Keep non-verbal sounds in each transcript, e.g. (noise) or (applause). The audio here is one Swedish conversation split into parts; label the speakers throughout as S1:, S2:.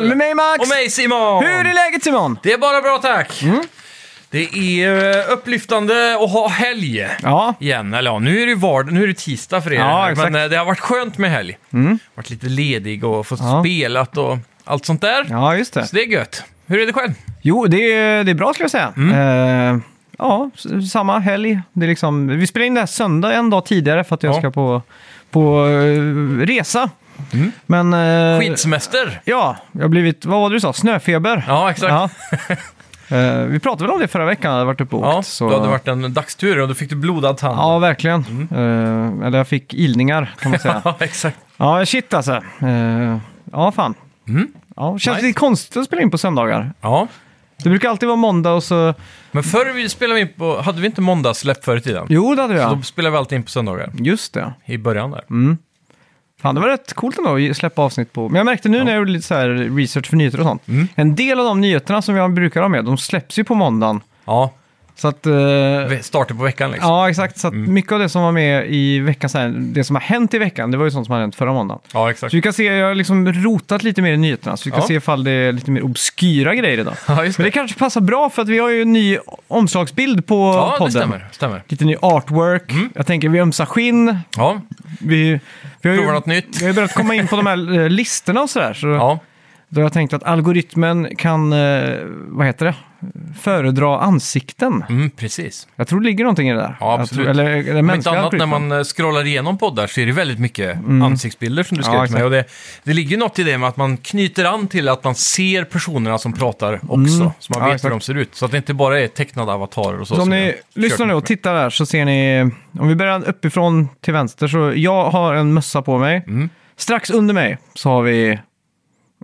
S1: mig Max!
S2: Och mig Simon!
S1: Hur är Mm. läget Simon?
S2: Det är bara bra tack! Det är eh, upplyftande att ha helg.
S1: Ja,
S2: Igen, eller ja, nu är det ju vardag, nu är det tisdag för er.
S1: Ja,
S2: men
S1: exakt. Mm.
S2: eh, det har varit skönt med helg. Varit lite ledig och fått
S1: Ja.
S2: spelat och allt sånt där.
S1: ja just det.
S2: Så det är gött. Hur är det själv?
S1: Jo, det är, det är bra skulle jag säga.
S2: Mm.
S1: Eh, ja, s- samma helg. Det är liksom, vi spelar in det här söndag en dag tidigare för att jag
S2: Ja.
S1: ska på, på eh, resa.
S2: Mm.
S1: Men... eh,
S2: Skidsemester!
S1: Ja, jag har blivit, vad var det du sa, snöfeber?
S2: Ja, exakt. Ja,
S1: Ja. (laughs) Eh, vi pratade väl om det förra veckan, jag hade varit uppe och åkt. så-
S2: Då hade det varit Mm. en dagstur och då fick du blodad tand.
S1: Ja, verkligen. Eh, eller jag fick ilningar, kan man
S2: (laughs)
S1: säga.
S2: (laughs) Ja, exakt.
S1: ja, shit alltså. Eh, ja, fan.
S2: Mm.
S1: Ja, känns
S2: Nice.
S1: lite konstigt att spela in på söndagar.
S2: Ja.
S1: Det brukar alltid vara måndag och så...
S2: Men förr vi spelade vi in på, hade vi inte måndagssläpp förr i tiden?
S1: Jo, det hade
S2: Så
S1: jag.
S2: då spelade vi alltid in på söndagar.
S1: Just det. Mm.
S2: I början där.
S1: Fan, det var rätt coolt ändå att släppa avsnitt på. Men jag märkte nu när jag gjorde lite så här research för nyheter och sånt.
S2: Mm.
S1: En del av de nyheterna som jag brukar ha med, de släpps ju på måndagen.
S2: Ja,
S1: Så att... eh,
S2: vi startar på veckan liksom.
S1: Ja, exakt. Så att mycket av det som var med i veckan, så här, det som har hänt i veckan, det var ju sånt som har hänt förra måndagen.
S2: Ja, exakt.
S1: Så vi kan se, jag har liksom rotat lite mer i nyheterna, så vi kan
S2: Ja.
S1: se ifall det är lite mer obskyra grejer idag.
S2: Ja, just
S1: Men det kanske passar bra för att vi har ju en ny omslagsbild på
S2: Ja, det
S1: podden.
S2: stämmer. Mm. stämmer.
S1: Lite ny artwork. Jag tänker vi ömsar skinn.
S2: Ja,
S1: Vi, vi har ju,
S2: Provar något nytt.
S1: Vi har ju börjat komma in på de här eh, listorna och sådär. Så
S2: ja.
S1: Då har jag tänkt att algoritmen kan, eh, vad heter det, föredra ansikten.
S2: Mm, precis.
S1: Jag tror det ligger någonting i det där.
S2: Ja,
S1: Jag
S2: absolut.
S1: Tror, eller är det
S2: Om inte
S1: mänskliga
S2: annat när
S1: algoritmen?
S2: man eh, scrollar igenom poddar så är det väldigt mycket ansiktsbilder som du skrev
S1: Ja,
S2: till mig.
S1: exakt.
S2: Och det, det ligger ju något i det med att man knyter an till att man ser personerna som pratar också. Så man
S1: Mm. Ja,
S2: vet hur
S1: exakt.
S2: de ser ut. Så att det inte bara är tecknade avatarer och
S1: Så
S2: så.
S1: om
S2: som
S1: ni
S2: jag
S1: lyssnar
S2: kört
S1: nu och
S2: mycket med.
S1: tittar där så ser ni, om vi börjar uppifrån till vänster så jag har en mössa på mig.
S2: Mm.
S1: Strax under mig så har vi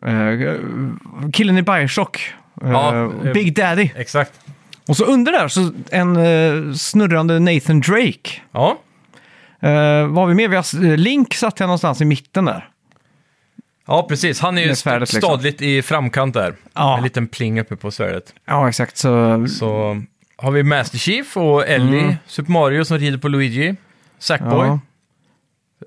S1: eh, killen i Bioshock, eh,
S2: Ja, eh,
S1: Big Daddy.
S2: Exakt.
S1: Och så under där så en eh, snurrande Nathan Drake.
S2: Ja,
S1: Eh, vad har vi mer? Vi har, eh, Link satt jag någonstans i mitten där.
S2: ja precis. Han är ju
S1: Med svärdet,
S2: st-
S1: liksom.
S2: stadligt i framkant där.
S1: Ja.
S2: En liten pling uppe på svärdet.
S1: Ja, exakt. Så,
S2: Så har vi Master Chief och Ellie, Super Mario som rider på Luigi, Sackboy,
S1: Mm. ja,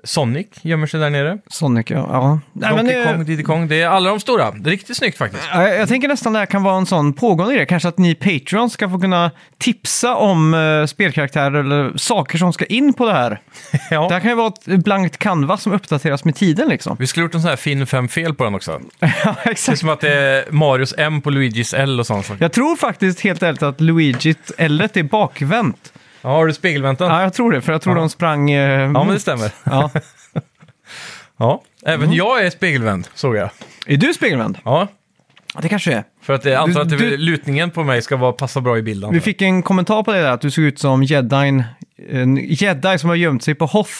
S2: Sonic gömmer sig där nere.
S1: Sonic, ja. ja. Nej, men,
S2: Donkey
S1: eh,
S2: Kong, Diddy Kong, det är alla de stora. Det är riktigt snyggt faktiskt.
S1: Ja, Jag, jag tänker nästan det här kan vara en sån pågående grej. Kanske att ni Patreon ska få kunna tipsa om eh, spelkaraktärer eller saker som ska in på det här.
S2: (laughs) Ja.
S1: Det här kan ju vara ett blankt canvas som uppdateras med tiden liksom.
S2: Vi skulle gjort en sån här fin fem fel på den också.
S1: (laughs) ja,
S2: Det är
S1: exakt.
S2: som att det är Marios M på Luigis L och sånt.
S1: Jag tror faktiskt helt ärligt att Luigi L är bakvänt.
S2: Ja, har du spegelväntan?
S1: Ja, jag tror det, för jag tror
S2: Ja.
S1: de sprang... Eh,
S2: Ja, men det stämmer.
S1: Ja.
S2: Ja. Även jag är spegelvänd, såg jag.
S1: Är du spegelvänd?
S2: Ja,
S1: Ja, Det kanske är.
S2: för att jag antar att det,
S1: du-
S2: lutningen på mig ska vara, passa bra i bilden.
S1: Vi fick en kommentar på det där, att du såg ut som jedin, en jedi som har gömt sig på (laughs) Hoth.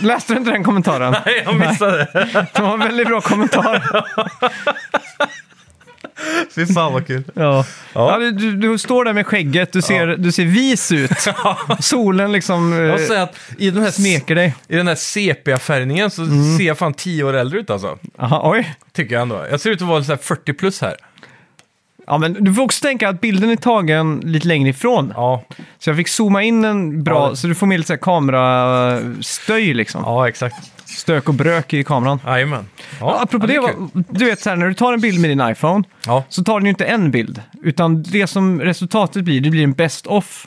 S1: Läste du inte den kommentaren?
S2: (laughs) Nej, (laughs) jag missade det.
S1: Det var en väldigt bra kommentar.
S2: Fy fan vad kul.
S1: Ja.
S2: Ja.
S1: du, du, du står där med skägget, du ser, du ser vis
S2: (laughs)
S1: ut. Solen liksom eh,
S2: Jag säger att i den här,
S1: smeker dig.
S2: i den här sepia-färgningen så ser jag fan tio år äldre ut alltså.
S1: Aha, oj.
S2: Tycker jag ändå. Jag ser ut att vara så här 40 plus här.
S1: Ja, men du får också tänka att bilden är tagen lite längre ifrån.
S2: Ja,
S1: Så jag fick zooma in en bra,
S2: Ja.
S1: så du får med lite så här kamerastöj liksom.
S2: ja exakt.
S1: Stök och brök i kameran.
S2: Jajamän. Ja,
S1: Apropå det,
S2: är
S1: vad-
S2: kul.
S1: du vet så här, när du tar en bild med din iPhone
S2: Ja.
S1: så tar den ju inte en bild. Utan det som resultatet blir, det blir en best off.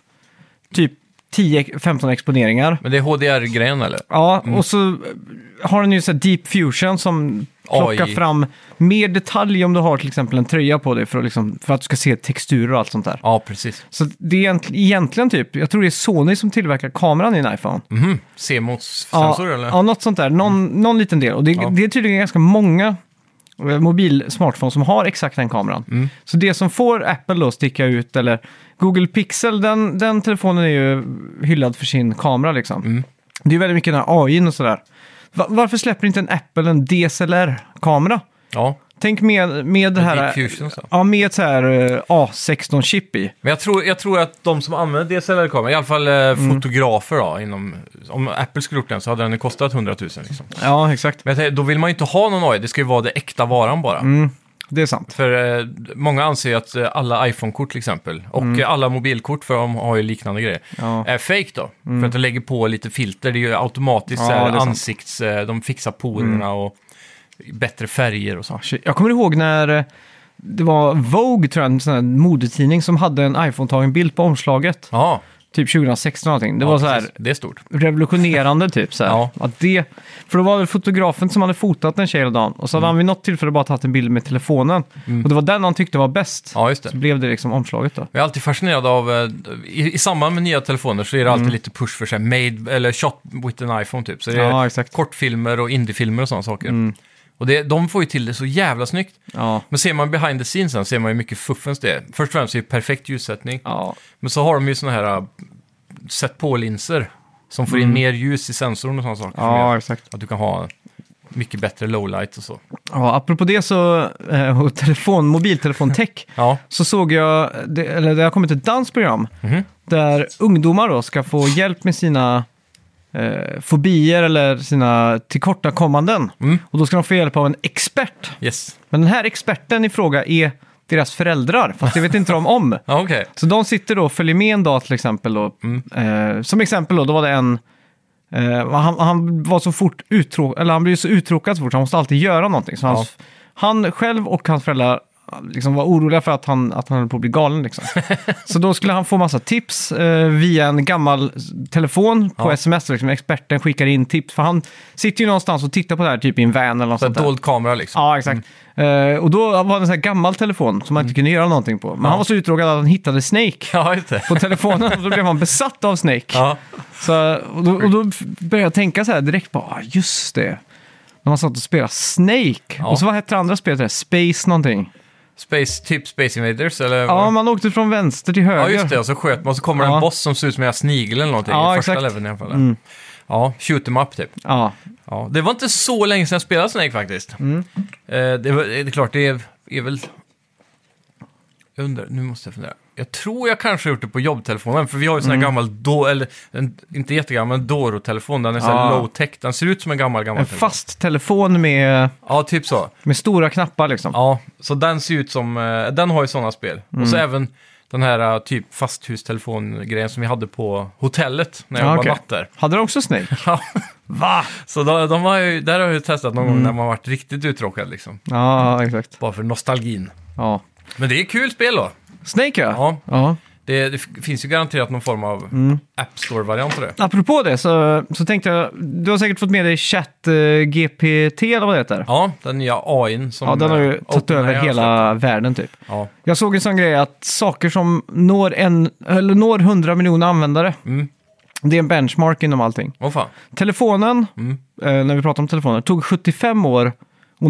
S1: Typ 10-15 exponeringar.
S2: Men det är HDR-grejen eller?
S1: Ja, och så eh, har den ju så här deep fusion som plockar
S2: AI.
S1: fram mer detalj om du har till exempel en tröja på dig för att, liksom, för att du ska se texturer och allt sånt där.
S2: Ja, precis.
S1: Så det är egent- egentligen typ, jag tror det är Sony som tillverkar kameran i en iPhone.
S2: Mhm. CMOS-sensor
S1: ja,
S2: eller? Mm.
S1: ja, något sånt där. Någon, någon liten del. Och det,
S2: Ja.
S1: det är tydligen ganska många eh, mobil-smartphones som har exakt den kameran.
S2: Mm.
S1: Så det som får Apple då att sticka ut, eller Google Pixel, den, den telefonen är ju hyllad för sin kamera liksom.
S2: Mm.
S1: Det är ju väldigt mycket den här AI och sådär. Va- varför släpper inte en Apple en DSLR-kamera?
S2: Ja.
S1: Tänk med, med det här...
S2: Deep Fusion, så.
S1: Ja, med ett så här eh, A16-chip i.
S2: Men jag tror, jag tror att de som använder DSLR-kameror, i alla fall eh,
S1: Mm.
S2: fotografer då, inom, om Apple skulle gjort den så hade den ju kostat 100 000 liksom.
S1: Ja, exakt.
S2: Men jag tänker, då vill man ju inte ha någon AI, det ska ju vara det äkta varan bara.
S1: Mm. Det är sant.
S2: För eh, många anser ju att eh, alla iPhone-kort till exempel, och eh,
S1: Mm.
S2: alla mobilkort, för de har ju liknande grejer,
S1: Ja.
S2: är fake då. För att de lägger på lite filter, det är ju automatiskt
S1: Ja,
S2: så här,
S1: det är sant. Mm.
S2: ansikts... eh, De fixar porerna och bättre färger och så.
S1: Ah, Shit. Jag kommer ihåg när eh, det var Vogue, tror jag, en sån här modetidning som hade en iPhone-tagen bild på omslaget.
S2: Ja,
S1: Typ 2016 eller någonting. Det
S2: ja,
S1: var så här
S2: precis. Det är stort.
S1: revolutionerande typ. Så här.
S2: Ja.
S1: Att det, för då var det fotografen som hade fotat en tjej hela dagen och så
S2: Mm.
S1: hade han vid något tillfälle bara tagit en bild med telefonen. Och det var den han tyckte var bäst.
S2: Ja, just
S1: Så
S2: det.
S1: blev det liksom omslaget då.
S2: Jag är alltid fascinerad av, eh, i, i samband med nya telefoner så är det alltid
S1: Mm.
S2: lite push för sig, made, eller shot with an iPhone typ. Så det är
S1: Ja, exakt. Mm.
S2: kortfilmer och indiefilmer och sådana saker. Och det, de får ju till det så jävla snyggt.
S1: Ja.
S2: Men ser man behind the scenes sen ser man ju mycket fuffens det är. Först och främst är det ju perfekt ljussättning.
S1: Ja,
S2: Men så har de ju såna här äh, sätt på-linser som får in mer ljus i sensorn och sådana saker. som
S1: Mm. ja
S2: gör
S1: exakt.
S2: Att du kan ha mycket bättre lowlight och så.
S1: Ja, apropå det så, eh, och telefon, mobiltelefontech,
S2: Ja,
S1: så såg jag, det, eller det har kommit ett danskt program
S2: Mhm.
S1: där ungdomar då ska få hjälp med sina eh, fobier eller sina tillkortakommanden.
S2: Mm.
S1: Och då ska de få hjälp av en expert.
S2: yes.
S1: Men den här experten i fråga är deras föräldrar, fast det vet inte de om.
S2: Ja, okej.
S1: Så de sitter då och följer med en dag till exempel. Då. Eh, som exempel då, då var det en... Eh, han, han var så fort uttråkad, eller han blev så uttråkad så fort, så han måste alltid göra någonting. Så hans, han själv och hans föräldrar liksom var oroliga för att han, att han höll på att bli galen. Liksom. så då skulle han få massa tips eh, via en gammal s- telefon på
S2: Ja.
S1: sms. Liksom. Experten skickar in tips, för han sitter ju någonstans och tittar på det här typ i en van eller något
S2: Så
S1: sånt
S2: en
S1: där.
S2: dold kamera liksom.
S1: Ja, exakt. Eh, och då var det en sån här gammal telefon som man
S2: Mm.
S1: inte kunde göra någonting på. Men han var så uttråkad att han hittade Snake
S2: Ja, just det.
S1: på telefonen och då blev han besatt av Snake.
S2: Ja,
S1: Så, och, då, och då började jag tänka så här direkt på, ah, just det. När man satt och spelade Snake.
S2: Ja.
S1: Och så vad hette det andra spelet? där? Space någonting.
S2: space, typ Space Invaders eller?
S1: Ja, man åkte från vänster till höger.
S2: ja just det. Och så sköt man och så kommer det
S1: Ja.
S2: en boss som ser ut som en snigel eller någonting
S1: Ja,
S2: i första
S1: exakt. Mm.
S2: leveln i alla fall. Ja, shoot 'em up typ.
S1: Ja.
S2: Ja, det var inte så länge sedan jag spelade Snake faktiskt.
S1: Mm.
S2: Eh, det, var, det är klart, det är, är väl... Jag undrar, nu måste jag fundera. Jag tror jag kanske har gjort det på jobbtelefonen, för vi har ju
S1: Mm.
S2: sån här gammal, do, eller en, inte jättegammal, men Doro-telefon. Den är så här
S1: Ja.
S2: low-tech, den ser ut som en gammal, gammal
S1: En
S2: telefon.
S1: fast telefon med,
S2: Ja, typ så.
S1: med stora knappar liksom.
S2: Ja, så den ser ut som, eh, den har ju sådana spel. Och så
S1: Mm.
S2: även den här eh, typ fasthustelefongrejen som vi hade på hotellet när jag
S1: Ja,
S2: var
S1: okej.
S2: natt där. (laughs)
S1: Hade de också Snake?
S2: Ja,
S1: Va?
S2: så de, de har ju, där har jag ju testat någon
S1: Mm.
S2: gång när man varit riktigt uttråkad liksom.
S1: Ja, exakt.
S2: Bara för nostalgin.
S1: Ja.
S2: Men det är kul spel då.
S1: Snake ja.
S2: Ja,
S1: ja.
S2: det, det f- finns ju garanterat någon form av
S1: Mm.
S2: App Store-variant av det.
S1: Apropå det så, så tänkte jag, du har säkert fått med dig chat eh, GPT eller vad det heter.
S2: Ja, den nya AIn som...
S1: Ja, den har ju
S2: eh,
S1: tagit
S2: OpenAI
S1: över
S2: har släppt.
S1: hela världen typ.
S2: Ja,
S1: Jag såg en sån grej att saker som når, en, eller når 100 miljoner användare,
S2: Mm.
S1: det är en benchmark inom allting.
S2: åh fan.
S1: Telefonen,
S2: Mm.
S1: eh, när vi pratar om telefoner, tog 75 år att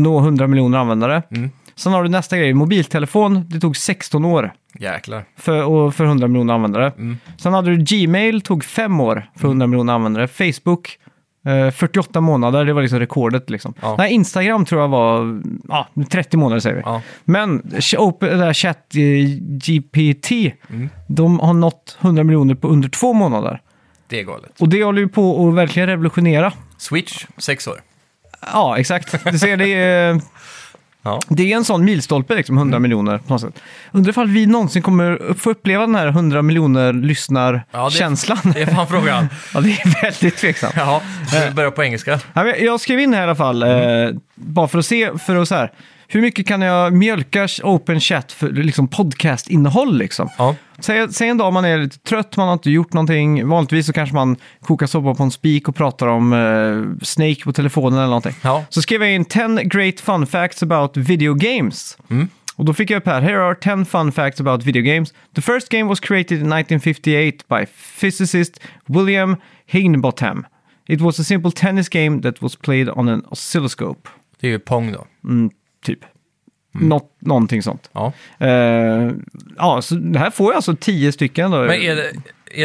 S1: nå 100 miljoner användare.
S2: Mm.
S1: Sen har du nästa grej, mobiltelefon, det tog 16 år
S2: Jäklar.
S1: för, och för 100 miljoner användare.
S2: Mm.
S1: Sen hade du Gmail, tog 5 år för 100 miljoner användare. Facebook, eh, 48 månader, det var liksom rekordet. Liksom.
S2: Ja.
S1: Nej, Instagram tror jag var ja, 30 månader säger vi.
S2: Ja.
S1: Men ch- open, det där chat eh, GPT,
S2: Mm.
S1: de har nått 100 miljoner på under två månader.
S2: Det är galet.
S1: Och det håller ju på att verkligen revolutionera.
S2: Switch, sex år.
S1: Ja, exakt. Du ser, det är, (laughs)
S2: Ja.
S1: det är en sån milstolpe, liksom, 100
S2: Mm.
S1: miljoner på något sätt. Undrar ifall vi någonsin kommer upp- få uppleva den här 100 miljoner
S2: Ja, det-
S1: lyssnar-känslan. Ja,
S2: Det är
S1: (laughs)
S2: fan frågan.
S1: det är väldigt tveksamt.
S2: Ja, ska vi börja på engelska?
S1: Ja, men Jag skrev in här i alla fall, eh, bara för att se, för att så här, hur mycket kan jag mjölka Open Chat för liksom podcast-innehåll liksom?
S2: Ja.
S1: Säg, säg en dag man är lite trött, man har inte gjort någonting. Vanligtvis så kanske man kokar soppa på en spik och pratar om eh, Snake på telefonen eller någonting.
S2: Ja.
S1: Så skrev jag in 10 great fun facts about video games.
S2: Mm.
S1: Och då fick jag upp här, here are 10 fun facts about video games. The first game was created in 1958 by physicist William Higginbotham. It was a simple tennis game that was played on an oscilloscope.
S2: Det är ju Pong då.
S1: Typ.
S2: Mm.
S1: Något, någonting sånt.
S2: Ja.
S1: Eh, ja, så det här får jag alltså 10 stycken då.
S2: Men är det,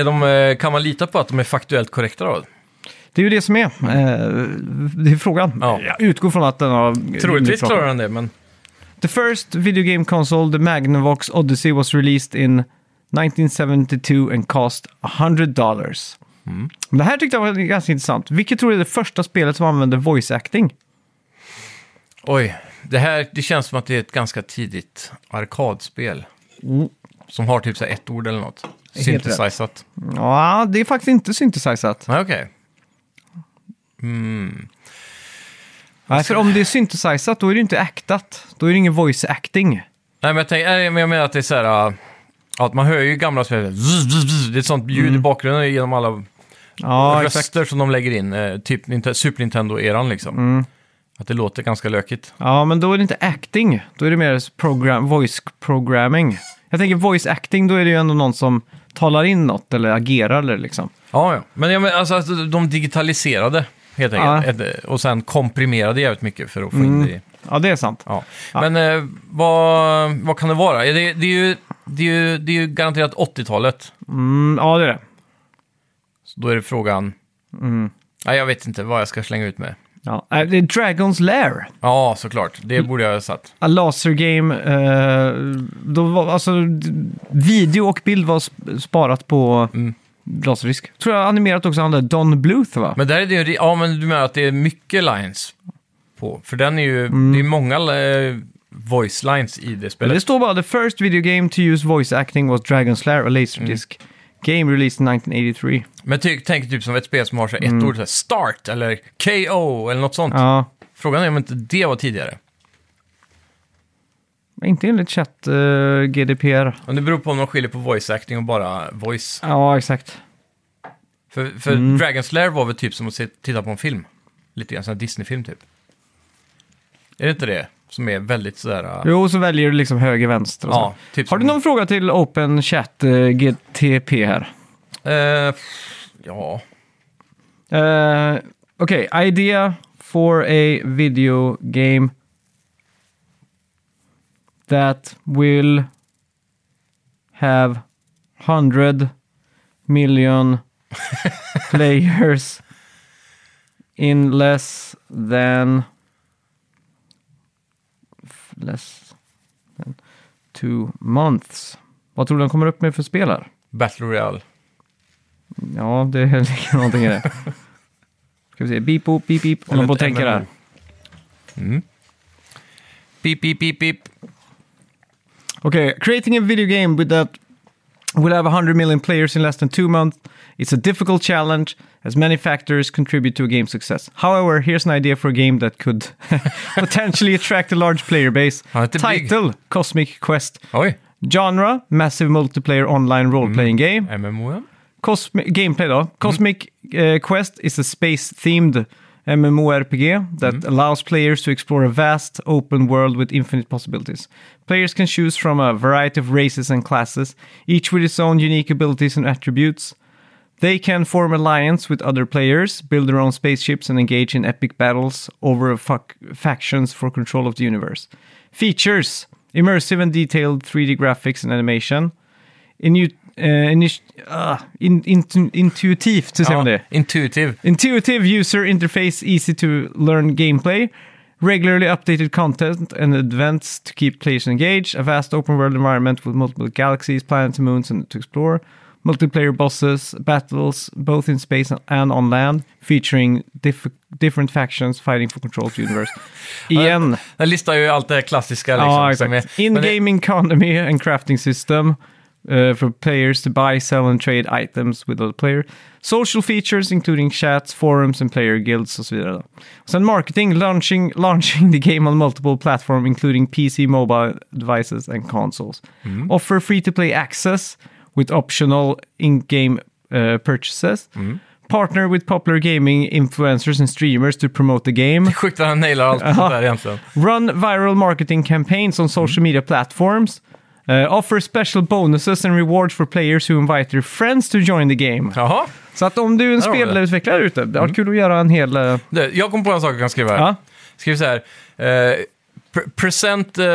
S2: är de, eh, kan man lita på att de är faktuellt korrekta då?
S1: Det är ju det som är. eh, det är frågan.
S2: Ja.
S1: Jag utgår från att den har...
S2: Troligtvis klarar den det, men
S1: The first video game console, the Magnavox Odyssey, was released in 1972 and cost 100 dollars. Det här tyckte jag var ganska intressant. Vilket tror du är det första spelet som använder voice acting?
S2: oj. Det här, det känns som att det är ett ganska tidigt arkadspel.
S1: Mm.
S2: Som har typ så här ett ord eller något.
S1: rätt.
S2: Synthesizat.
S1: Ja, det är faktiskt inte synthesizat.
S2: Nej, okej. Mm.
S1: Nej, för om det är synthesizat då är det ju inte actat. Då är det ingen voice acting.
S2: Nej, men jag, tänker, nej, men jag menar att det är så här... äh, Att man hör ju gamla spelare. zzz, zzz, zzz. Det är ett sånt ljud i bakgrunden genom alla
S1: Mm. Ja,
S2: röster som de lägger in. eh, Typ Ninte- Super Nintendo-eran liksom.
S1: Mm.
S2: Att det låter ganska lökigt.
S1: Ja, men då är det inte acting. Då är det mer program, voice programming. Jag tänker voice acting, då är det ju ändå någon som talar in något eller agerar eller liksom.
S2: Ja, ja. Men jag menar, alltså, att de digitaliserade helt enkelt. Ett- Och sen komprimerade jävligt mycket för att få
S1: Mm.
S2: in det i...
S1: Ja, det är sant.
S2: Ja. Men eh, vad, vad kan det vara? Det, det, är ju, det, är ju, det är ju garanterat 80-talet.
S1: Mm, ja, det är det.
S2: Så då är det frågan... Nej, jag vet inte vad jag ska slänga ut med.
S1: Ja. Äh, Det är Dragon's Lair.
S2: Ja, såklart. Det borde jag ha satt.
S1: A laser game. Eh, då var, alltså, d- video och bild var sp- sparat på
S2: Mm.
S1: laserdisk. Tror jag animerat också handlade Don Bluth, va?
S2: Men där är det ju... ri- Ja, men du menar att det är mycket lines på? För den är ju... Det är många eh, voice lines i det
S1: Men
S2: spelet.
S1: det står bara the first video game to use voice acting was Dragon's Lair, a laserdisk game released in 1983.
S2: Men ty, tänk typ som ett spel som har så här ett ord, så här, start eller KO eller något sånt.
S1: Ja.
S2: Frågan är om inte det var tidigare.
S1: Inte enligt chatt eh, GDPR.
S2: Men det beror på om de skiljer på voice acting och bara voice.
S1: Ja, exakt.
S2: För, för
S1: Mm.
S2: Dragon's Lair var väl typ som att se, titta på en film. Lite grann, som en Disney-film typ. Är det inte det? Som är väldigt sådär... äh,
S1: Jo, så väljer du liksom höger, vänster och
S2: Ja,
S1: ja,
S2: typ
S1: Har du
S2: som-
S1: någon fråga till Open Chat eh, GTP här?
S2: eh, ja,
S1: Eh, Okej, idea for a video game that will have 100 million players in less than f- less than two months. Vad tror du den kommer upp med för spel här?
S2: Battle Royale.
S1: Ja, det ligger någonting i det. Ska vi se, beep, boop, beep, beep. Håller på och tänker där.
S2: Pip, pip, pip, pip.
S1: Okej, creating a video game with that will have 100 million players in less than two months. It's a difficult challenge as many factors contribute to a game's success. However, here's an idea for a game that could (laughs) potentially attract a large player base.
S2: Ja, det är big.
S1: Title, Cosmic Quest.
S2: Oj,
S1: Genre, Massive Multiplayer Online Role-Playing Game.
S2: MMO ja.
S1: Cosmi- gameplay då. Cosmic eh, Quest is a space-themed MMORPG that allows players to explore a vast open world with infinite possibilities. Players can choose from a variety of races and classes, each with its own unique abilities and attributes. They can form alliance with other players, build their own spaceships, and engage in epic battles over fac- factions for control of the universe. Features immersive and detailed 3D graphics and animation. Inu- eh, init- ah, in- intu- intuitivt, hur säger man det?
S2: Intuitiv.
S1: Intuitive user interface, easy to learn gameplay, regularly updated content and events to keep players engaged, a vast open world environment with multiple galaxies, planets, and moons and to explore, multiplayer bosses, battles both in space and on land, featuring diff- different factions fighting for control of the universe. Igen,
S2: Den listar ju allt det här klassiska liksom.
S1: ja,
S2: som
S1: exakt.
S2: är- men det-
S1: In-game economy and crafting system. Uh, for players to buy, sell and trade items with other player. Social features including chats, forums and player guilds och så vidare. Och sen marketing, launching, launching the game on multiple platforms including PC, mobile devices and consoles.
S2: Mm.
S1: Offer free to play access with optional in-game uh, purchases.
S2: Mm.
S1: Partner with popular gaming influencers and streamers to promote the game.
S2: Sjukt vad han nailar allt sånt där egentligen.
S1: Run viral marketing campaigns on social media platforms. Uh, offer special bonuses and rewards for players who invite their friends to join the game.
S2: Jaha.
S1: Så att om du är en
S2: har vi det. Mm.
S1: spelutvecklare ute, det har varit kul att göra en hel... eh,
S2: Du, jag kom på en sak jag kan skriva här.
S1: Ja.
S2: Skriv så här. eh, pre- present eh,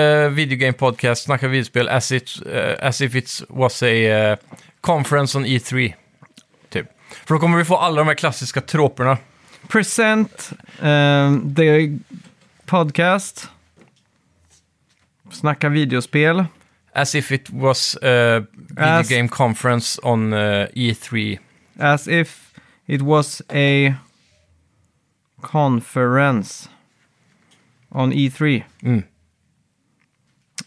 S2: eh, video game podcast, snacka videospel as, it, eh, as if it was a eh, conference on E3. Typ. För då kommer vi få alla de här klassiska troperna.
S1: Present um, the podcast. Snacka videospel.
S2: As if it was a video
S1: As-
S2: game conference on eh, E3.
S1: As if it was a conference on E E3.
S2: Mm.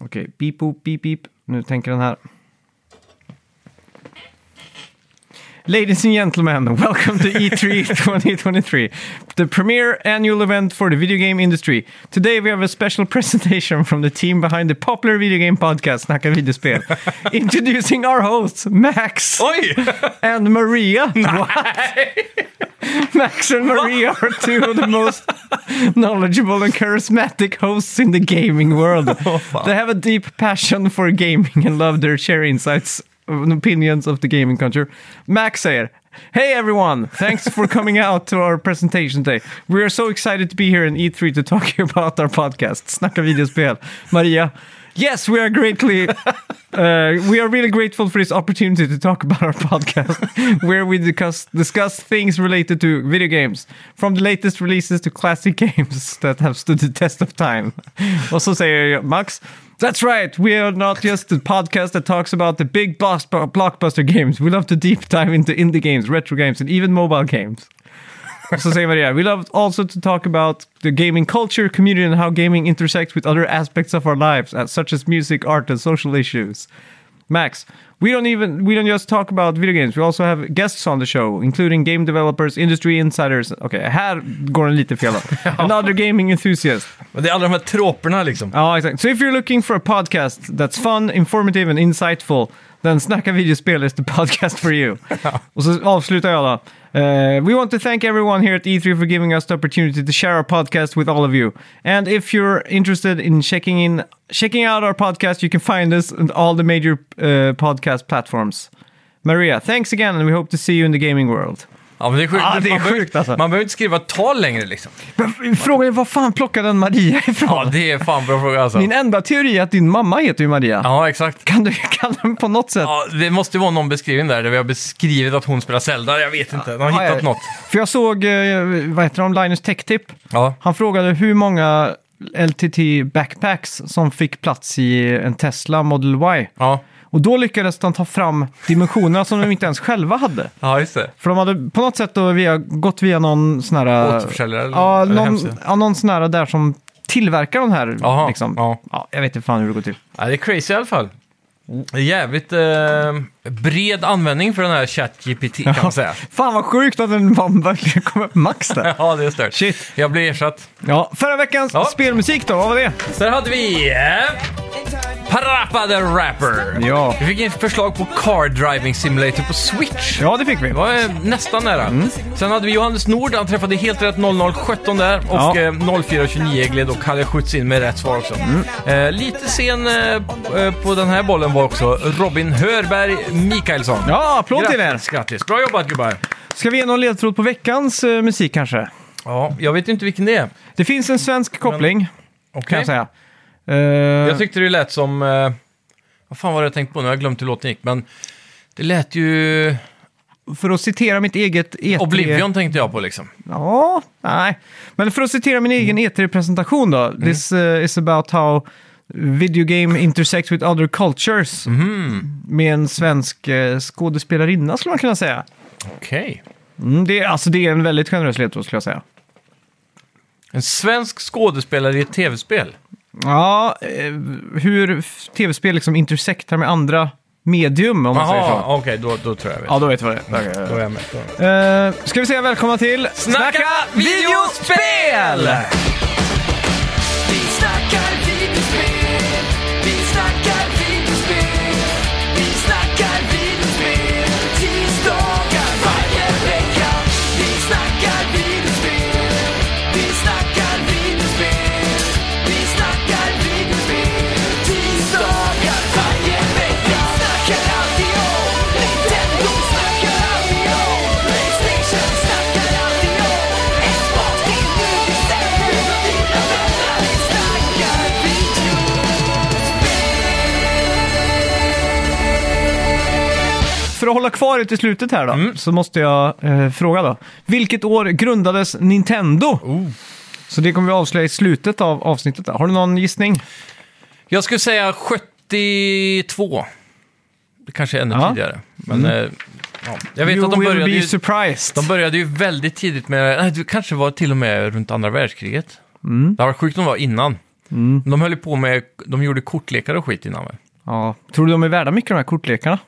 S1: Okej, beep, boop, beep, beep. Nu tänker den här. Ladies and gentlemen, welcome to E
S2: (laughs)
S1: E3 2023, the premier annual event for the video game industry. Today we have a special (laughs) presentation from the team behind the popular video game podcast Snacka
S2: (laughs)
S1: Videospel. Introducing our hosts, Max
S2: Oj!
S1: and Maria. What? Max and Maria are two of the most knowledgeable and charismatic hosts in the gaming world. they have a deep passion for gaming and love their share insights and opinions of the gaming culture. Max säger Hey everyone! Thanks for coming out to our presentation today. We are so excited to be here in E3 to talk (laughs) about our podcast, Snacka videospel. Maria, yes, we are greatly (laughs) uh, we are really grateful for this opportunity to talk about our podcast, (laughs) where we discuss, discuss things related to video games, from the latest releases to classic (laughs) games that have stood the test of time. (laughs) Also, say uh, Max. That's right. We are not just the podcast that talks about the big boss- blockbuster games. We love to deep dive into indie games, retro games, and even mobile games. (laughs) So säger Maria, we love also to talk about the gaming culture, community, and how gaming intersects with other aspects of our lives, as- such as music, art, and social issues. Max, we don't even we don't just talk about video games. We also have guests on the show, including game developers, industry insiders. Okej, här går den lite fel. då. And other gaming enthusiasts.
S2: Men det är alla de här troperna liksom.
S1: Ja, exakt. So if you're looking for a podcast that's fun, informative and insightful, then Snacka videospel is the (laughs) podcast for you. Och så avslutar jag då. Eh, we want to thank everyone here at E3 for giving us the opportunity to share our podcast with all of you. And if you're interested in checking in, checking out our podcast, you can find us on all the major eh, podcast platforms. Maria, thanks again and we hope to see you in the gaming world.
S2: Ja, men det är sjukt.
S1: Ja, det är
S2: man behöver-
S1: sjukt, alltså.
S2: Man behöver inte skriva tal längre liksom.
S1: Men Frågan är, vad fan plockade den Maria ifrån?
S2: Ja, det är fan bra fråga alltså.
S1: Min enda teori är att din mamma heter ju Maria.
S2: Ja, exakt.
S1: Kan du kan den på något sätt
S2: Ja, det måste ju vara någon beskrivning där, där vi har beskrivit att hon spelar Zelda. Jag vet inte, de har
S1: Ja,
S2: hittat
S1: ja.
S2: något.
S1: För jag såg, eh, vad heter de, Linus Tech Tip.
S2: Ja.
S1: Han frågade hur många LTT backpacks som fick plats i en Tesla Model Y.
S2: Ja.
S1: Och då lyckades de ta fram dimensionerna som de inte ens själva hade.
S2: ja, just det.
S1: För de hade på något sätt då via, gått via någon sån här... eh,
S2: Återförsäljare eller-
S1: ja,
S2: eller
S1: någon,
S2: hemsida.
S1: ja, någon sån här där som tillverkar de här.
S2: Jaha,
S1: liksom.
S2: ja.
S1: jag vet inte fan hur det går till.
S2: Ja, det är crazy i alla fall. Det är jävligt eh, bred användning för den här ChatGPT kan man säga.
S1: Fan vad sjukt att en man verkligen kom upp max där.
S2: (laughs) Ja, det är stört.
S1: Shit.
S2: Jag blir ersatt.
S1: Ja, förra veckans
S2: Ja.
S1: spelmusik då, vad var det?
S2: Sen hade vi... Eh, Parappa the Rapper.
S1: Ja.
S2: Vi fick ett förslag på Car Driving Simulator på Switch.
S1: Ja, det fick vi.
S2: Det var eh, nästan nära.
S1: Mm.
S2: Sen hade vi Johannes Nord, han träffade helt rätt 0017 där.
S1: Ja.
S2: Och eh, 0429 gled och Kalle Schütz in med rätt svar också.
S1: Mm.
S2: Eh, lite sen eh, p- eh, på den här bollen var också Robin Hörberg Mikaelsson.
S1: Ja, applåd till er!
S2: Grattis, grattis. Bra jobbat gubbar.
S1: Ska vi ge någon ledtråd på veckans eh, musik kanske?
S2: Ja, jag vet inte vilken det är.
S1: Det finns en svensk koppling, kan
S2: Okej.
S1: jag säga. Eh,
S2: Jag tyckte det lät som... Eh, vad fan var det jag tänkte på nu? Jag har glömt hur låten gick, men... Det lät ju...
S1: för att citera mitt eget E3...
S2: Oblivion tänkte jag på liksom.
S1: Ja, nej. Men för att citera min egen E3-presentation då. This eh, is about how video game intersects with other cultures.
S2: Mm.
S1: Med en svensk eh, skådespelarinna skulle man kunna säga.
S2: Okej.
S1: Mm, det, är- alltså det är en väldigt generös ledtråd skulle jag säga.
S2: En svensk skådespelare i ett tv-spel.
S1: Ja, eh, hur f- tv-spel liksom intersektar med andra medium om man säger så.
S2: Jaha, okej, då, då tror jag jag vet.
S1: Ja, då vet jag vad det är.
S2: Då är jag med. Då.
S1: Eh, ska vi säga välkomna till
S3: Vi snackar videospel, vi snackar videospel, vi snackar videospel, tisdagar varje vecka. Vi snackar videospel, vi snackar videospel, vi snackar videospel, tisdagar varje vecka. Snackar alltid om Nintendo, snackar alltid om Playstation, snackar alltid om Xbox, din mobil, dina vänner. Vi snackar videospel.
S1: För att hålla kvar er till slutet här då,
S2: Mm.
S1: så måste jag eh, fråga då. Vilket år grundades Nintendo?
S2: Oh.
S1: Så det kommer vi avslöja i slutet av avsnittet. Där. Har du någon gissning?
S2: Jag skulle säga 72. Det kanske är ännu
S1: Ja. Mm.
S2: tidigare. Men eh, ja. jag vet
S1: you
S2: att de
S1: will
S2: började,
S1: be
S2: ju,
S1: surprised.
S2: de började ju väldigt tidigt med... Nej, det kanske var till och med runt andra världskriget.
S1: Mm.
S2: Det var sjukt om det var innan. De höll ju på med... De gjorde kortlekar och skit innan väl?
S1: Ja. Tror du de är värda mycket de här kortlekarna?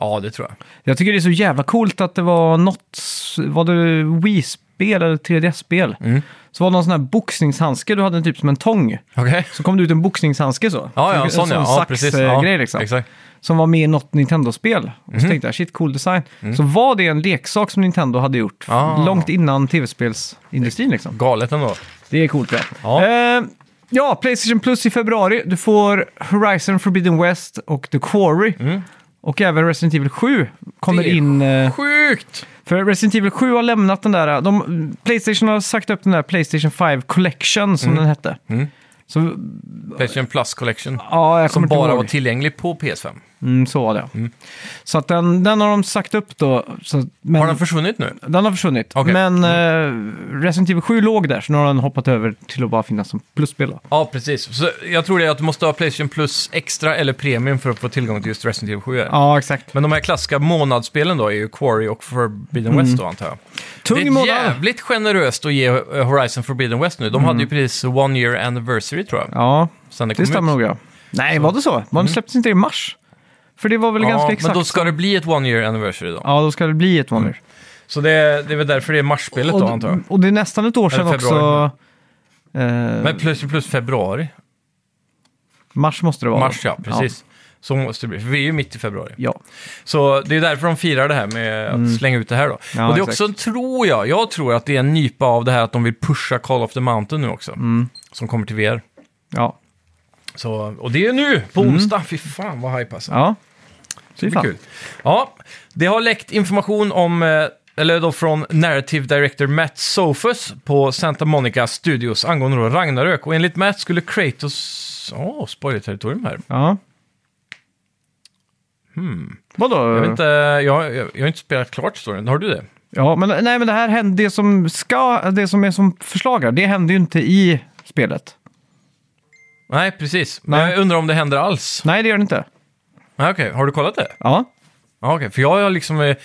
S2: Ja, det tror jag.
S1: Jag tycker det är så jävla coolt att det var något, var det Wii-spel eller 3DS-spel?
S2: Mm.
S1: Så var det någon sån här boxningshandske du hade typ som en tång.
S2: Okej.
S1: Så kom det ut en boxningshandske så.
S2: Ja, ja, en sån ja. ja, precis. Ja,
S1: grej liksom.
S2: Exakt. Mhm.
S1: Som var med i något Nintendo-spel. Och så tänkte jag, shit, cool design. Så var det en leksak som Nintendo hade gjort
S2: Mm. Ah.
S1: långt innan tv-spelsindustrin liksom.
S2: Galet ändå.
S1: Det är coolt det.
S2: Ja.
S1: Eh, ja, Playstation Plus i februari. Du får Horizon Forbidden West och The Quarry. Och även Resident Evil 7 kommer
S2: Mm. Det är
S1: in. eh,
S2: Sjukt!
S1: För Resident Evil 7 har lämnat den där. De, Playstation har sagt upp den där Playstation 5 Collection
S2: Mm.
S1: som den hette. Så
S2: Playstation Plus Collection.
S1: ja, jag
S2: Som
S1: kommer inte
S2: bara
S1: ihåg.
S2: var tillgänglig på PS5.
S1: Mm, så var det. Så att den, den har de sagt upp då. Så, men,
S2: Har den försvunnit nu?
S1: den har försvunnit.
S2: Okej. Mm.
S1: Men eh, Resident Evil 7 låg där, så nu har den hoppat över till att bara finnas som plusspel. Då.
S2: Ja, precis. Så jag tror det är att du måste ha Playstation Plus Extra eller Premium för att få tillgång till just Resident Evil 7.
S1: Ja, exakt.
S2: Men de här klassiska månadsspelen då är ju Quarry och Forbidden West då, antar jag.
S1: Tung
S2: det är
S1: månad.
S2: jävligt generöst att ge eh, Horizon Forbidden West nu. De hade ju precis One Year Anniversary, tror jag.
S1: Ja,
S2: Sen det kom
S1: det stämmer
S2: ut. Mm.
S1: nog ja. Nej, var det så? Man släpptes inte i mars? För det var väl ganska
S2: Ja,
S1: exakt?
S2: men då ska det bli ett One Year Anniversary då.
S1: Ja, då ska det bli ett månader.
S2: Så det, det är väl därför det är marsspelet då, antar
S1: och,
S2: jag.
S1: Mm. och det är nästan ett år sedan
S2: Eller februari.
S1: också. Eh,
S2: Men plus plus februari.
S1: mars måste det vara.
S2: Mars, ja, precis. Så måste det bli, för vi är ju mitt i februari.
S1: Ja.
S2: Så det är därför de firar det här med att slänga ut det här då.
S1: Mm. Ja,
S2: och det är
S1: exakt.
S2: också, tror jag, jag tror att det är en nypa av det här att de vill pusha Call of the Mountain nu också.
S1: Mm.
S2: Som kommer till VR.
S1: Ja.
S2: Så, och det är nu, på onsdag. Fy fan vad hype alltså.
S1: Mm. ja. Fy
S2: det blir
S1: fan.
S2: kul. Ja, det har läckt information om, eh, eller då från narrative director Matt Sofus på Santa Monica Studios angående då Ragnarök. Och enligt Matt skulle Kratos... Åh, oh, spoilerterritorium här.
S1: Ja. Vadå?
S2: Hmm. Jag, vet inte, jag, jag, jag har inte spelat klart storyn, har du det?
S1: Ja, men, nej, men det här händer, det som ska, det som är som förslag här, det händer ju inte i spelet.
S2: Nej, precis. Men
S1: Nej.
S2: jag undrar om det händer alls.
S1: Nej, det gör det inte.
S2: Nej, okej. Har du kollat det?
S1: Ja.
S2: Ja, okej. För jag har liksom... eh,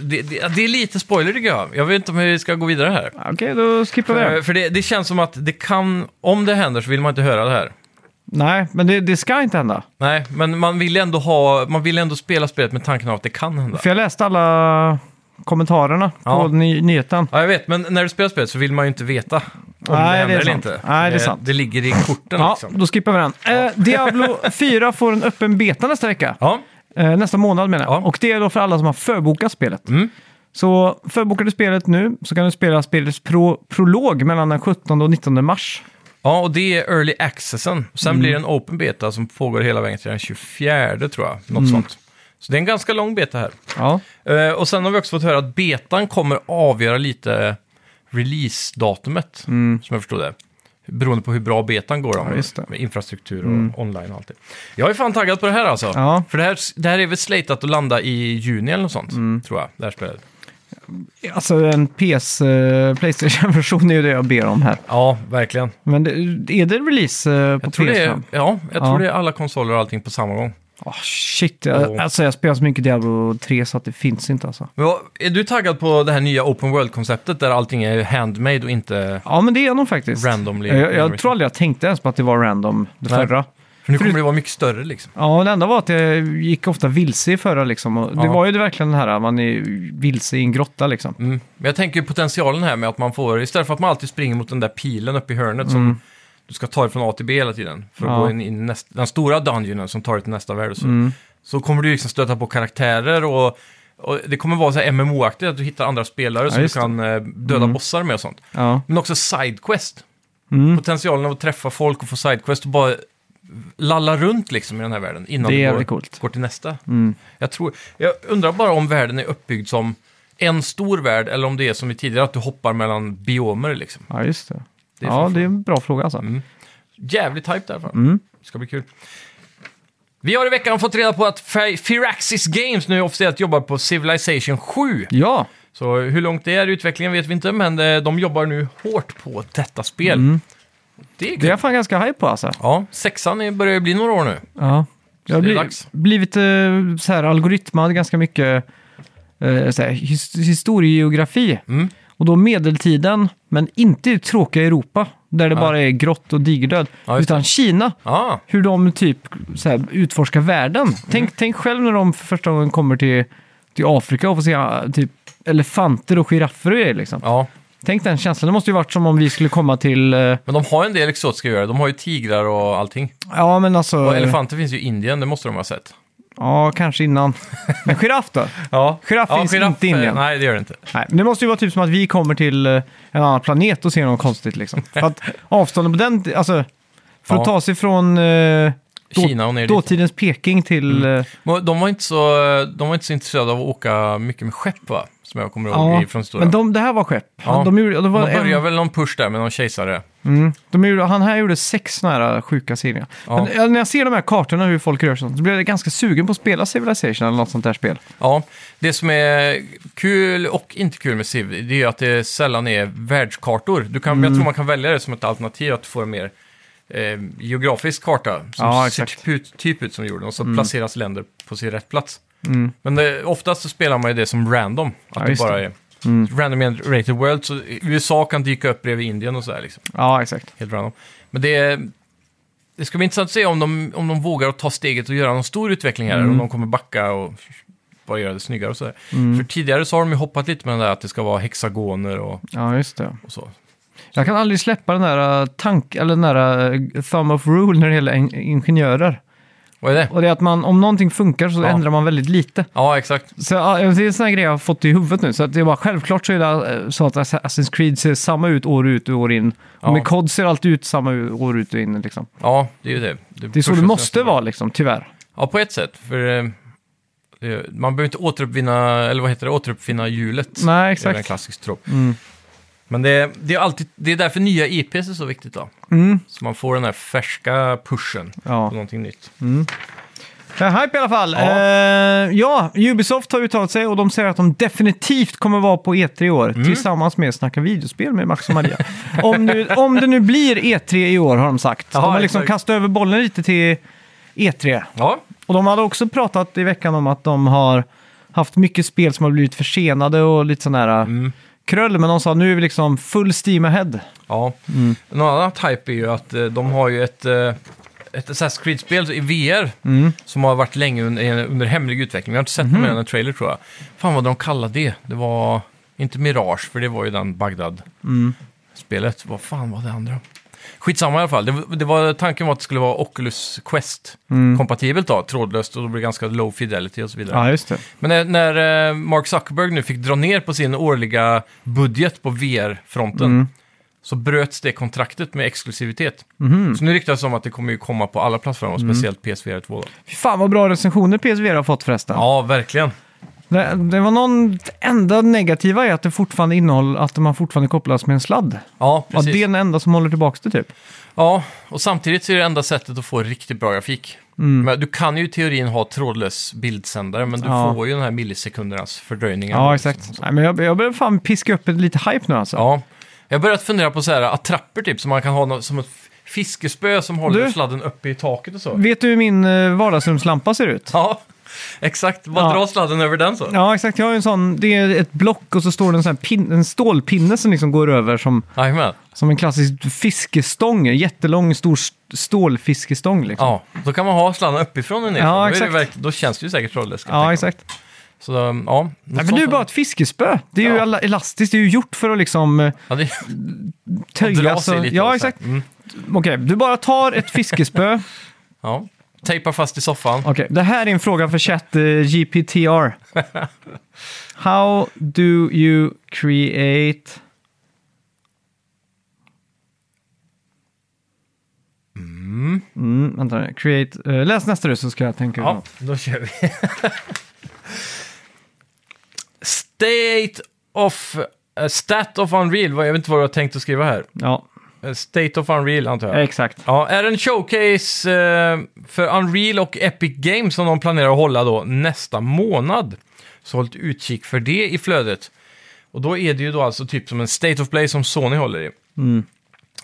S2: Det, det, det är lite spoiler tycker jag. Jag vet inte om vi ska gå vidare här.
S1: Okej, då skippar vi
S2: För,
S1: det.
S2: för det, det känns som att det kan... Om det händer så vill man inte höra det här.
S1: Nej, men det, det ska inte hända.
S2: Nej, men man vill ändå ha... Man vill ändå spela spelet med tanken av att det kan hända.
S1: För jag läste alla kommentarerna
S2: Ja.
S1: på ny, nyheten.
S2: Ja, jag vet. Men när du spelar spelet så vill man ju inte veta om
S1: Nej,
S2: det
S1: det är
S2: händer eller
S1: sant.
S2: inte.
S1: Nej, det är sant.
S2: Det ligger i korten
S1: Ja,
S2: liksom.
S1: då skippar vi den. Eh, Diablo 4 får en öppen beta nästa vecka.
S2: Ja,
S1: Eh, nästa månad menar jag.
S2: Ja. Mm.
S1: Och det är då för alla som har förbokat spelet. Så förbokar du spelet nu så kan du spela spelets pro prolog mellan den 17 och 19 mars.
S2: ja, och det är early accessen. Sen
S1: Mm.
S2: blir det en open beta som pågår hela vägen till den 24 tror jag.
S1: Mm.
S2: Något sånt. Så det är en ganska lång beta här.
S1: Ja.
S2: Eh, och sen har vi också fått höra att betan kommer avgöra lite releasedatumet, som jag förstod det. Beroende på hur bra betan går då, med,
S1: Mm. just det. Mm.
S2: med infrastruktur och online och allt det. Jag är fan taggad på det här alltså.
S1: Ja.
S2: För det här, det här är väl slatat att landa i juni eller något sånt,
S1: Mm.
S2: tror jag, det här spelet.
S1: Alltså en PS, eh, Playstation-version är ju det jag ber om här.
S2: Ja, verkligen.
S1: Men det, är det release eh, på
S2: Jag tror, det är,
S1: PS5?
S2: ja, jag
S1: Ja.
S2: tror det är alla konsoler och allting på samma gång.
S1: Ah, shit, jag,
S2: Och-
S1: alltså jag spelar så mycket Diablo 3 så att det finns inte alltså.
S2: Men vad- är du taggad på det här nya open world-konceptet där allting är handmade och inte...
S1: Ja, men det är nog faktiskt.
S2: Randomly
S1: Jag, jag
S2: generated.
S1: tror aldrig jag tänkte ens på att det var random, det
S2: Nej.
S1: förra.
S2: För nu kommer det vara mycket större liksom.
S1: Ja, det enda var att jag gick ofta vilse i förra liksom. Och Det
S2: Ja.
S1: var ju det verkligen den här, man är vilse i en grotta liksom.
S2: Mm. Men jag tänker ju potentialen här med att man får, istället för att man alltid springer mot den där pilen uppe i hörnet som du ska ta dig från A till B hela tiden för att
S1: Mm. Ja. Mm.
S2: gå in i näst, den stora dungeonen som tar dig till nästa värld. och Så, så kommer du liksom stöta på karaktärer och, och det kommer vara så här MMO-aktigt att du hittar andra spelare som du
S1: just det. Mm.
S2: kan eh, döda bossar med och sånt.
S1: Ja.
S2: Men också sidequest.
S1: Mm.
S2: Potentialen av att träffa folk och få sidequest och bara lalla runt liksom i den här världen innan
S1: Det är
S2: du går,
S1: jävligt coolt. Mm.
S2: går till nästa. Jag, tror, jag undrar bara om världen är uppbyggd som en stor värld eller om det är som i tidigare att du hoppar mellan biomer liksom.
S1: ja, just det.
S2: Det är
S1: ja,
S2: fan Mm.
S1: det är en bra fråga alltså.
S2: Jävligt hype därför.
S1: Mm.
S2: Det ska bli kul. Vi har i veckan fått reda på att Fi- Firaxis Games nu officiellt jobbar på Civilization 7.
S1: Ja,
S2: Så hur långt det är i utvecklingen vet vi inte, men eh, de jobbar nu hårt på detta spel. Det är
S1: Mm. det är
S2: kul.
S1: jag fan ganska hype på alltså.
S2: Ja, sexan är- börjar ju bli några år nu.
S1: Ja. Jag har
S2: det är
S1: bli,
S2: dags.
S1: blivit eh, så här algoritmad ganska mycket eh, så här, his, historiegeografi.
S2: Mm.
S1: Och då medeltiden, men inte i tråkiga Europa, där det bara är grått och digerdöd.
S2: Ja, just det.
S1: utan Kina,
S2: Ah,
S1: hur de typ så här, utforskar världen. Tänk, tänk själv när de för första gången kommer till, till Afrika och får se ah, typ elefanter och giraffer och grejer, liksom.
S2: ja.
S1: Tänk den känslan. Det måste ju varit som om vi skulle komma till... eh,
S2: Men de har ju en del exotiska öar. De har ju tigrar och allting.
S1: Ja, men alltså...
S2: Och elefanter finns ju i Indien, det måste de ha sett.
S1: Ja, kanske innan. (laughs) Men giraff då?
S2: Ja,
S1: Giraff finns inte i
S2: eh,
S1: Indien.
S2: Nej, det gör det inte.
S1: Nej, men det måste ju vara typ som att vi kommer till eh, en annan planet och ser något konstigt (laughs) liksom. För att avstånden på den... Alltså, för att
S2: Ja.
S1: ta sig från eh, då,
S2: Kina och ner dit.
S1: dåtidens Peking till... eh,
S2: Men De var, inte så, de var inte så intresserade av att åka mycket med skepp, va? Som jag kommer ihåg
S1: ja,
S2: ja, från historien.
S1: men de, det här var skepp.
S2: Ja.
S1: De, gjorde, det var
S2: De började
S1: en,
S2: väl någon push där med någon kejsare.
S1: mm, de gjorde, han här gjorde sex såna här äh, sjuka serier.
S2: Ja.
S1: Men, eh, när jag ser de här kartorna hur folk rör sig så blir jag ganska sugen på att spela Civilization eller något sånt där spel.
S2: Ja, det som är kul och inte kul med Civ, det är ju att det sällan är världskartor. Du kan,
S1: Mm.
S2: Jag tror man kan välja det som ett alternativ, att få en mer eh, geografisk karta. Som
S1: Ja,
S2: ser
S1: exakt. Mm.
S2: typ ut, typ ut som jorden och så placeras länder på sin rätt plats. Men det, oftast så spelar man ju det som random. Att
S1: Ja,
S2: det
S1: just
S2: bara
S1: det. Mm.
S2: är random rated world. Så USA kan dyka upp bredvid Indien och sådär liksom.
S1: Ja, exakt.
S2: Helt random. Men det, det ska bli intressant att se om de, om de vågar att ta steget och göra någon stor utveckling här.
S1: Mm.
S2: Om de kommer backa och bara göra det snyggare och sådär. För tidigare så har de ju hoppat lite med den där att det ska vara hexagoner och,
S1: Ja, just det.
S2: och så.
S1: Jag kan aldrig släppa den där eh, tank, eller den där eh, thumb of rule när det gäller in- ingenjörer.
S2: Vad är det?
S1: Och det är att man, om någonting funkar så
S2: Ja.
S1: ändrar man väldigt lite.
S2: Ja, exakt.
S1: Så ja, det är en sån här grej jag har fått i huvudet nu. Så att det är bara, självklart så är det eh, så att Assassin's Creed ser samma ut år ut och år in.
S2: Ja.
S1: Och med COD ser allt ut samma u- år ut och in. Liksom.
S2: Ja, det är ju det.
S1: Det är så det
S2: pushas
S1: måste
S2: nästan.
S1: vara, liksom, tyvärr.
S2: Ja, på ett sätt. För eh, det- man behöver inte återuppvinna, eller vad heter det, återuppfinna hjulet.
S1: Nej,
S2: Det är väl en
S1: exakt. Mm.
S2: klassisk trop. Men det, det, är alltid, det är därför nya IPs är så viktigt då.
S1: Mm.
S2: Så man får den här färska pushen på
S1: Ja.
S2: någonting nytt.
S1: Men Eh, hype i alla fall.
S2: Ja.
S1: Ja. ja, Ubisoft har uttalat sig och de säger att de definitivt kommer vara på E3 i år
S2: Mm.
S1: tillsammans med Snacka videospel med Max och Maria. (laughs) om, nu, om det nu blir E3 i år har de sagt.
S2: Jaha,
S1: de har liksom
S2: exakt.
S1: kastat över bollen lite till E3.
S2: Ja,
S1: Och de hade också pratat i veckan om att de har haft mycket spel som har blivit försenade och lite sån här eh,
S2: Mm.
S1: kröll. Men de sa nu är vi liksom full steam ahead.
S2: Ja. Någon annan type är ju att eh, de har ju ett, eh, ett Assassin's Creed-spel i VR som har varit länge under, eh, under hemlig utveckling. Vi har inte sett mer än en trailer tror jag. Fan vad de kallade det. Det var inte Mirage, för det var ju den Bagdad-spelet. Vad fan var det andra? Skitsamma i alla fall. Det, det var, tanken var att det skulle vara Oculus Quest-kompatibelt då, trådlöst och då blir det ganska low fidelity och så vidare.
S1: just det.
S2: Men när, när eh, Mark Zuckerberg nu fick dra ner på sin årliga budget på VR-fronten
S1: Mm.
S2: så bröts det kontraktet med exklusivitet.
S1: Mhm.
S2: Så nu ryktas det om att det kommer ju komma på alla plattformar,
S1: Mm.
S2: speciellt PSVR 2. Då.
S1: Fy fan vad bra recensioner PSVR har fått förresten.
S2: Ja, verkligen.
S1: Det, det var någon, det enda negativa är att det fortfarande innehåller, att man fortfarande kopplas med en sladd.
S2: Ja,
S1: Att
S2: precis.
S1: det är den enda som håller tillbaka det typ.
S2: Ja, och samtidigt så är det enda sättet att få riktigt bra grafik.
S1: Mm.
S2: Men du kan ju i teorin ha trådlös bildsändare, men du
S1: Ja.
S2: får ju den här millisekundernas fördröjningar.
S1: Ja, exakt. Nej, men jag, jag börjar fan piska upp lite hype nu alltså.
S2: Ja. Jag har börjat fundera på så här attrapper typ, som man kan ha nå- som ett fiskespö som håller
S1: Du?
S2: sladden uppe i taket och så.
S1: Vet du hur min eh, vardagsrumslampa ser ut?
S2: (laughs) Ja, exakt. Bara
S1: Ja.
S2: dra sladden över den så.
S1: Ja, exakt. Jag har ju en sån, det är ett block och så står det en, sån här pin, en stålpinne som liksom går över som,
S2: Jajamän.
S1: som en klassisk fiskestång. En Jättelång, stor s- stålfiskestång liksom.
S2: Ja, då kan man ha sladden uppifrån och nerifrån.
S1: Ja,
S2: Då är det
S1: exakt.
S2: verk- Då känns det ju säkert trådlöst. kan jag
S1: Ja,
S2: tänka mig.
S1: exakt.
S2: Så, um, ja.
S1: Nej,
S2: något
S1: men
S2: sånt
S1: du är
S2: där.
S1: bara ett fiskespö. Det är ju
S2: Ja.
S1: alla- elastiskt, det är ju gjort för att liksom eh,
S2: Ja, det,
S1: töja.
S2: (laughs) dra sig
S1: så-
S2: lite. och så
S1: ja,
S2: här.
S1: exakt.
S2: Mm.
S1: Okej, du bara tar ett fiskespö.
S2: Ja. Tejpa fast i soffan.
S1: Okej, det här är en fråga för chat eh, GPTR. How do you create... Mm. vänta nu. Create... eh, läs nästa du så ska jag tänka.
S2: Ja,
S1: Ja.
S2: då kör vi. (laughs) State of... eh, stat of Unreal. Vad- Jag vet inte vad du har tänkt att skriva här.
S1: ja,
S2: Eh, State of Unreal antar jag.
S1: exakt.
S2: Ja, är det en showcase eh, för Unreal och Epic Games som de planerar att hålla då nästa månad. Så håll utkik för det i flödet. Och då är det ju då alltså typ som en State of Play
S1: Mm.
S2: som Sony håller i.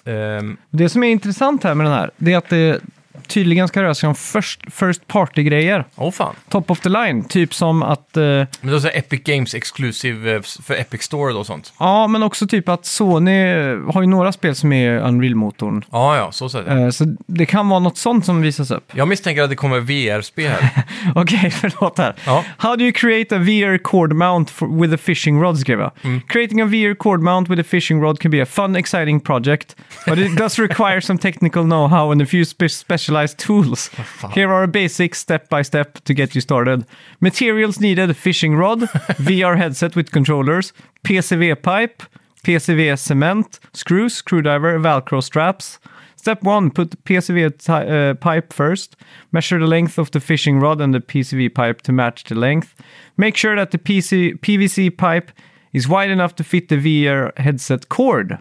S2: Ehm,
S1: Det som är intressant här med den här, det är att det, tydligen ska röra sig om first, first party-grejer.
S2: Åh fan.
S1: Top of the line, typ som att... eh,
S2: Men då så här Epic Games Exclusive eh, för Epic Store då och sånt.
S1: ja, men också typ att Sony eh, har ju några spel som är Unreal-motorn.
S2: Ja, ja, så säger jag.
S1: Eh, så det kan vara något sånt som visas upp.
S2: Jag misstänker att det kommer VR-spel
S1: (laughs)
S2: här.
S1: Okej, förlåt här.
S2: Ja.
S1: How do you create a VR cord mount for, with a fishing rod, skrev jag. Creating a VR cord mount with a fishing rod can be a fun, exciting project, but it does require some technical know-how and a few spe- specialized tools. Here are basics step-by-step to get you started. Materials needed, fishing rod, VR headset with controllers, PCV pipe, PCV cement, screws, screwdriver, Velcro straps. Step one, put PCV ti- uh, pipe first. Measure the length of the fishing rod and the PCV pipe to match the length. Make sure that the PC- PVC pipe is wide enough to fit the VR headset cord.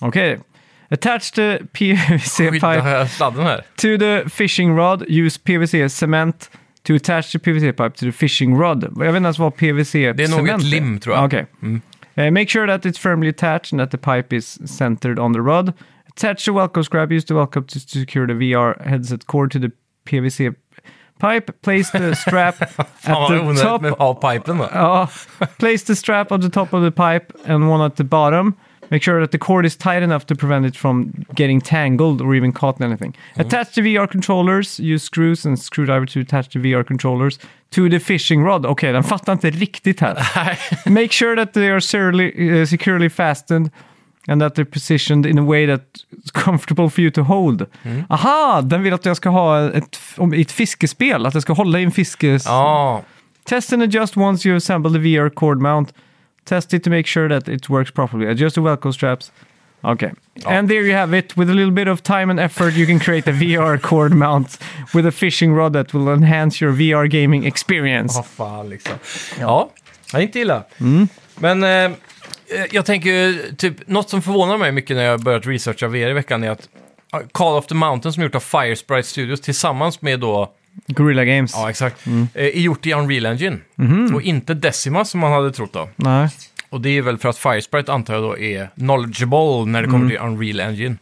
S1: Okay. Attach the PVC
S2: Skydda
S1: pipe
S2: här sladden här.
S1: to the fishing rod. Use PVC cement to attach the PVC pipe to the fishing rod. Jag vet inte ens vad PVC cement Ah,
S2: Det är nog ett lim, tror jag. Mm.
S1: Okej. Eh, make sure that it's firmly attached and that the pipe is centered on the rod. Attach the Velcro scrap. Use the Velcro to secure the VR headset cord to the PVC pipe. Place
S2: (laughs)
S1: the strap at
S2: Fan
S1: the
S2: vad
S1: top
S2: onödigt med A-pipen då.
S1: Ja. Place the strap on the top of the pipe and one at the bottom. Make sure that the cord is tight enough to prevent it from getting tangled or even caught in anything. Attach the VR controllers. Use screws and screwdriver to attach the VR controllers to the fishing rod. Okej, den fattar inte riktigt här. (laughs) Make sure that they are securely, uh, securely fastened and that they're positioned in a way that's comfortable for you to hold. Aha, den vill att jag ska ha ett, om, i ett fiskespel, att jag ska hålla i en fiskes...
S2: Ja,
S1: Test and adjust once you assemble the VR cord mount. Test it to make sure that it works properly. Adjust the Velcro straps. Okay. And there you have it. With a little bit of time and effort, you can create a (laughs) VR cord mount with a fishing rod that will enhance your VR gaming experience.
S2: vad fan liksom. Ja, det är inte illa. Men eh, jag tänker ju, typ, något som förvånar mig mycket när jag börjat researcha VR i veckan är att eh, Call of the Mountain som är gjort av Firesprite Studios tillsammans med då,
S1: Guerrilla Games.
S2: ja exakt, eh, är gjort i Unreal Engine. Och inte Decima som man hade trott då.
S1: Nej.
S2: Och det är väl för att Firesprite antar jag då är knowledgeable när det kommer till Unreal Engine.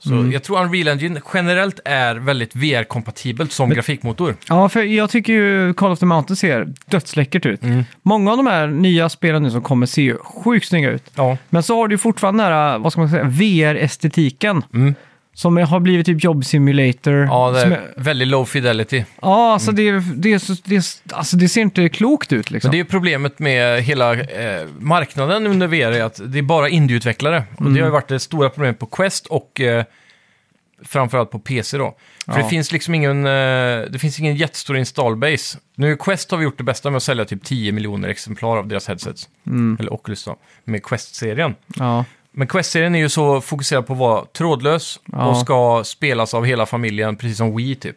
S2: Så jag tror Unreal Engine generellt är väldigt VR-kompatibelt som grafikmotor.
S1: Ja, för jag tycker ju Call of the Mountain ser dödsläckert ut.
S2: Mm.
S1: Många av de här nya spelen nu som kommer ser ju sjukt snygga ut.
S2: Ja.
S1: Men så har du ju fortfarande den här, vad ska man säga, VR-estetiken. Som har blivit typ Job Simulator.
S2: Mm. Ja, det
S1: Som
S2: är
S1: är-
S2: väldigt low fidelity.
S1: ja alltså, det, det, är så, det, är så- alltså det ser inte klokt ut liksom.
S2: Men det är ju problemet med hela eh, marknaden under VR, är att det är bara indieutvecklare. Och
S1: Mm.
S2: det har ju varit det stora problemet på Quest och eh, framförallt på PC då. För
S1: Ja.
S2: det finns liksom ingen, eh, det finns ingen jättestor installbase. Nu Quest har vi gjort det bästa med att sälja typ 10 miljoner exemplar av deras headsets.
S1: Mm.
S2: Eller Oculus då, med Quest-serien.
S1: Ja.
S2: Men Quest-serien är ju så fokuserad på att vara trådlös
S1: Ja.
S2: och ska spelas av hela familjen, precis som Wii typ.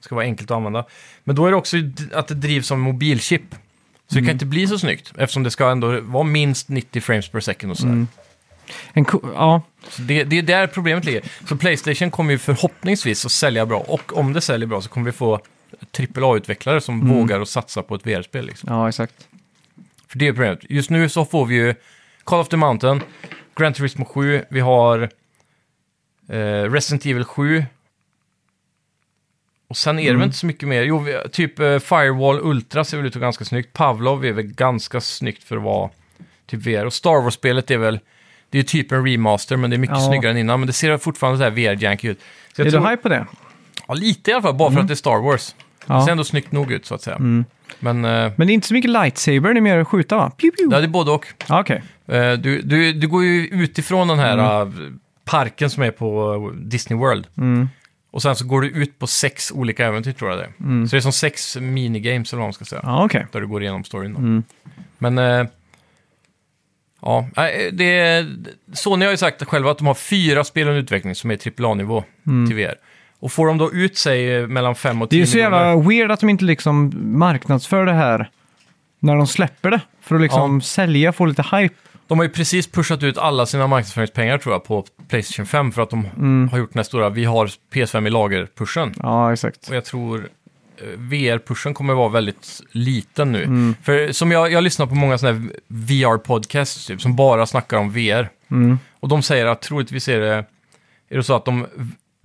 S2: Ska vara enkelt att använda. Men då är det också d- att det drivs som mobilchip. Så det kan inte bli så snyggt, eftersom det ska ändå vara minst 90 frames per second och sådär.
S1: En ko- ja.
S2: Så det, det är där problemet ligger. Så Playstation kommer ju förhoppningsvis att sälja bra, och om det säljer bra så kommer vi få AAA-utvecklare som vågar att satsa på ett VR-spel. Liksom.
S1: ja, exakt.
S2: För det är problemet. Just nu så får vi ju Call of the Mountain, Gran Turismo 7, vi har eh, Resident Evil 7. Och sen är det väl
S1: Mm.
S2: inte så mycket mer. Jo, vi, typ eh, Firewall Ultra ser väl ut att vara ganska snyggt. Pavlov är väl ganska snyggt för att vara typ VR. Och Star Wars-spelet är väl, det är ju typ en remaster, men det är mycket
S1: Ja.
S2: snyggare än innan. Men det ser fortfarande så här VR-janky ut. Så jag
S1: Är
S2: tror-
S1: du hype på det?
S2: Ja, lite i alla fall, bara för att det är Star Wars.
S1: Ja. Mm.
S2: Det ser ändå snyggt nog ut, så att säga. Men eh,
S1: Men det är inte så mycket lightsaber, det är mer att skjuta va? Pew,
S2: det
S1: pew.
S2: är både och.
S1: Ja, okej.
S2: Eh, Du, du, du går ju utifrån den här
S1: Mm.
S2: eh, parken som är på eh, Disney World. Och sen så går du ut på sex olika äventyr tror jag det är. Så det är som sex minigames eller vad man ska säga.
S1: Mm. Ja, Mm. okej.
S2: Där du går igenom storyn då. Men... eh, Ja, eh, det, Sony har ju sagt själva att de har fyra spel under utveckling som är AAA-nivå till VR. Och får de då ut sig eh, mellan fem och
S1: Mm. Det är ju
S2: tio
S1: så jävla weird att de inte liksom marknadsför det här när de släpper det. För att liksom sälja, få lite hype.
S2: De har ju precis pushat ut alla sina marknadsföringspengar tror jag på Playstation 5 för att de har gjort den här stora vi har PS5 i lager-pushen.
S1: Ja, exakt.
S2: Och jag tror eh, VR-pushen kommer vara väldigt liten nu. För som jag, jag lyssnar på många sådana här VR-podcasts typ,
S1: Mm.
S2: som bara snackar om VR. Och de säger att troligtvis är det, är det så att de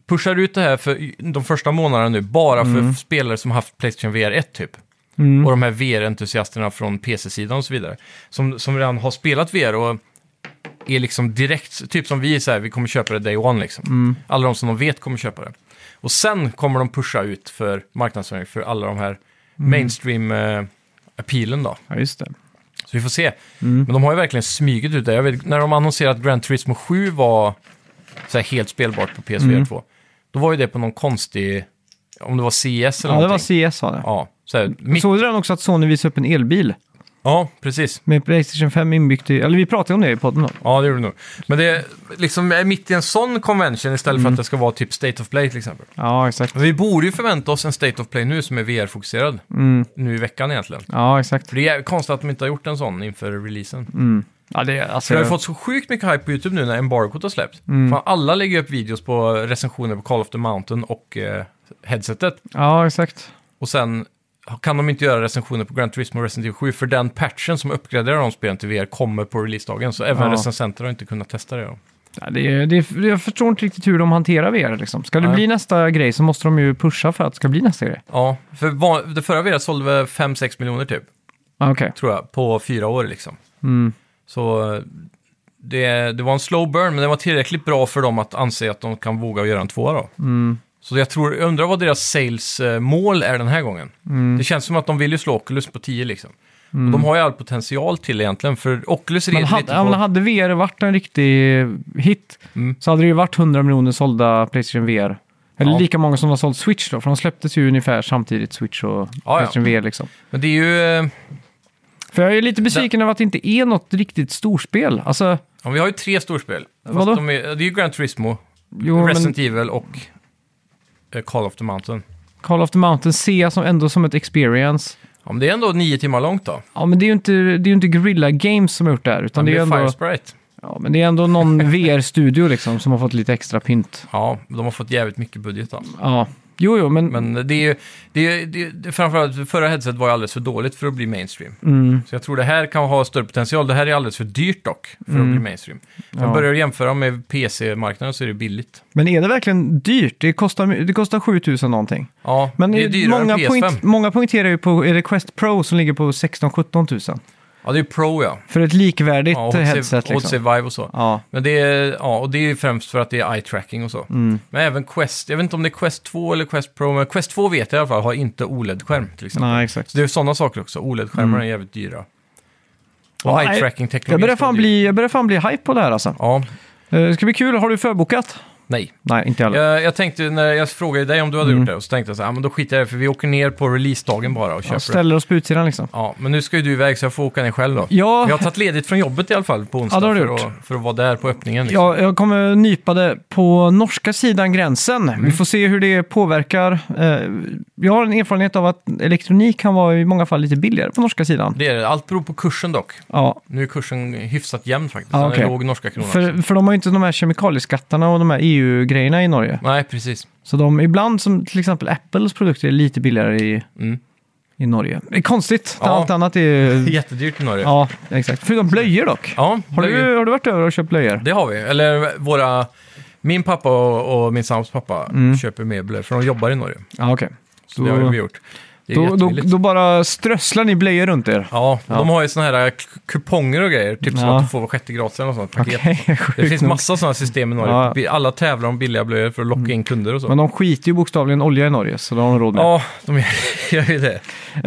S2: pushar ut det här för de första månaderna nu bara för spelare som haft Playstation VR 1 typ.
S1: Mm.
S2: Och de här VR-entusiasterna från PC-sidan och så vidare. Som, som redan har spelat VR och är liksom direkt, typ som vi är så här, vi kommer köpa det day one liksom.
S1: Mm.
S2: Alla de som de vet kommer köpa det. Och sen kommer de pusha ut för marknadsföring för alla de här
S1: Mm.
S2: mainstream-appealen då.
S1: Ja, just det.
S2: Så vi får se.
S1: Mm.
S2: Men de har ju verkligen smugit ut det. Jag vet, när de annonserade att Gran Turismo 7 var så här helt spelbart på PSVR
S1: Mm.
S2: 2, då var ju det på någon konstig, om det var CS eller
S1: Ja, det var
S2: någonting.
S1: CS var det.
S2: ja, så här, mitt,
S1: Såg du den också att Sony visade upp en elbil
S2: ja, precis.
S1: med Playstation 5 inbyggt i... Eller vi pratade om det i podden då.
S2: Ja, det gjorde det nog. Men det är liksom är mitt i en sån convention istället för att det ska vara typ State of Play till exempel.
S1: Ja, exakt.
S2: Men vi borde ju förvänta oss en State of Play nu som är VR-fokuserad. Nu i veckan egentligen.
S1: Mm. Ja, exakt.
S2: För det är konstigt att de inte har gjort en sån inför releasen.
S1: Mm. Ja, det, alltså,
S2: För jag har ju fått så sjukt mycket hype på YouTube nu när embargot har släppt. Fan, alla lägger upp videos på recensioner på Call of the Mountain och eh, headsetet.
S1: Ja, exakt.
S2: Och sen kan de inte göra recensioner på Gran Turismo och Resident Evil 7 för den patchen som uppgraderar de spelen till VR kommer på releasedagen. Så även
S1: Ja.
S2: recensenter har inte kunnat testa det. då.
S1: Ja, det, är- det, är- jag förstår inte riktigt hur de hanterar VR liksom. Ska det
S2: Nej.
S1: bli nästa grej så måste de ju pusha för att det ska bli nästa grej.
S2: Ja, för van- det förra VR sålde väl 5-6 miljoner typ,
S1: Ja, Okej.
S2: tror jag, på fyra år liksom.
S1: Mm.
S2: Så eh, det, det var en slow burn, men den var tillräckligt bra för dem att anse att de kan våga göra en tvåa då.
S1: Mm.
S2: Så jag, tror, jag undrar vad deras sales-mål är den här gången.
S1: Mm.
S2: Det känns som att de vill ju slå Oculus på 10 liksom. Och de har ju all potential till egentligen, för Oculus
S1: Men
S2: red
S1: hade,
S2: lite
S1: ja,
S2: på...
S1: men hade VR varit en riktig hit
S2: Mm.
S1: så hade det ju varit 100 miljoner sålda Playstation VR. Eller
S2: Ja.
S1: lika många som har sålt Switch då, för de släpptes ju ungefär samtidigt, Switch och
S2: ja.
S1: Playstation VR liksom.
S2: Men det är ju... eh,
S1: För jag är lite besviken över att det inte är något riktigt storspel. Alltså,
S2: Ja, vi har ju tre storspel. Fast
S1: Vadå?
S2: De är, det är ju Gran Turismo,
S1: jo, men
S2: Resident Evil och eh, Call of the Mountain.
S1: Call of the Mountain ser jag som, ändå som ett experience.
S2: Ja, men det är ändå nio timmar långt då.
S1: Ja, men det är ju inte, det är ju inte Guerrilla Games som har gjort det här, utan
S2: Men
S1: det är, ju
S2: det
S1: ändå,
S2: är Firesprite.
S1: ja, men det är ändå någon
S2: (laughs)
S1: VR-studio liksom som har fått lite extra pynt.
S2: Ja, de har fått jävligt mycket budget då.
S1: Ja, jo, jo, men...
S2: Men det är ju, det är, det är, det är, framförallt förra headset var ju alldeles för dåligt för att bli mainstream.
S1: Mm,
S2: Så jag tror det här kan ha större potential. Det här är alldeles för dyrt dock för att bli mainstream. Men
S1: Mm. Ja.
S2: börjar du jämföra med PC-marknaden så är det billigt.
S1: men är det verkligen dyrt? Det kostar, det kostar 7000 någonting.
S2: Ja,
S1: Men eh,
S2: det är dyrare
S1: många,
S2: än PS5.
S1: point, många poängterar ju på, är det Quest Pro som ligger på 16-17 tusen?
S2: Ja, det är Pro ja.
S1: För ett likvärdigt
S2: ja
S1: headset
S2: och
S1: liksom.
S2: Vive och så.
S1: Ja,
S2: Men det är, ja, och det är ju främst för att det är eye-tracking och så.
S1: Mm.
S2: Men även Quest, jag vet inte om det är Quest 2 eller Quest Pro, men Quest 2 vet jag i alla fall har inte OLED-skärm till exempel.
S1: nej exakt.
S2: Så det är sådana saker också. OLED-skärmar är jävligt dyra. Och
S1: Mm. Ja,
S2: eye-tracking-teknologi.
S1: Jag börjar,
S2: ska
S1: fan
S2: vara dyr.
S1: bli, jag börjar fan bli hype på det här alltså.
S2: Ja,
S1: Eh, Det ska bli kul. Har du förbokat?
S2: nej.
S1: Nej, inte heller.
S2: Jag, jag tänkte, när jag frågade dig om du hade
S1: Mm.
S2: gjort det, och så tänkte jag så här, ah, men då skiter jag i det, för vi åker ner på releasedagen bara och köper
S1: Jag
S2: det.
S1: ställer oss på utsidan liksom.
S2: Ja, men nu ska ju du iväg så jag får åka ner själv då.
S1: Ja.
S2: Jag har tagit ledigt från jobbet i alla fall på onsdag
S1: Ja, det har du
S2: för,
S1: gjort.
S2: att, för att vara där på öppningen. Liksom.
S1: Jag, jag kommer nypa det på norska sidan gränsen.
S2: Mm.
S1: Vi får se hur det påverkar. Eh, Jag har en erfarenhet av att elektronik kan vara i många fall lite billigare på norska sidan.
S2: Det är, det. allt beror på kursen dock.
S1: Ja,
S2: Nu är kursen hyfsat jämn faktiskt.
S1: Ja,
S2: Den
S1: okej.
S2: är låg norska kronan.
S1: för, för de har ju inte de här kemikalieskattarna och de här EU-grejerna i Norge.
S2: Nej, precis.
S1: Så de, ibland som till exempel Apples produkter är lite billigare i,
S2: Mm.
S1: i Norge. Det är konstigt,
S2: Ja.
S1: allt annat
S2: (laughs)
S1: är...
S2: Jättedyrt i Norge. Ja,
S1: Ja, exakt. Förutom blöjor dock. Har
S2: blöjor.
S1: du, har du varit över och köpt blöjor?
S2: det har vi. Eller våra... Min pappa och, och min sambos pappa
S1: Mm.
S2: köper möbler, för de jobbar i Norge.
S1: Ja, okej.
S2: Så det har vi gjort. Det är
S1: Då, då,
S2: jättebilligt.
S1: då bara strösslar ni blöjor runt er?
S2: Ja, de har ju såna här k- kuponger och grejer. Typ som
S1: Ja.
S2: att du får var sjätte gratis eller något sånt paket.
S1: Okej,
S2: Det finns
S1: sjukt nog.
S2: massa sådana system i Norge.
S1: Ja. Mm.
S2: Vi- Alla tävlar om billiga blöjor för att locka in kunder och så.
S1: Men de skiter ju bokstavligen olja i Norge, så det har de råd med.
S2: Ja, de gör (laughs) gör ju det.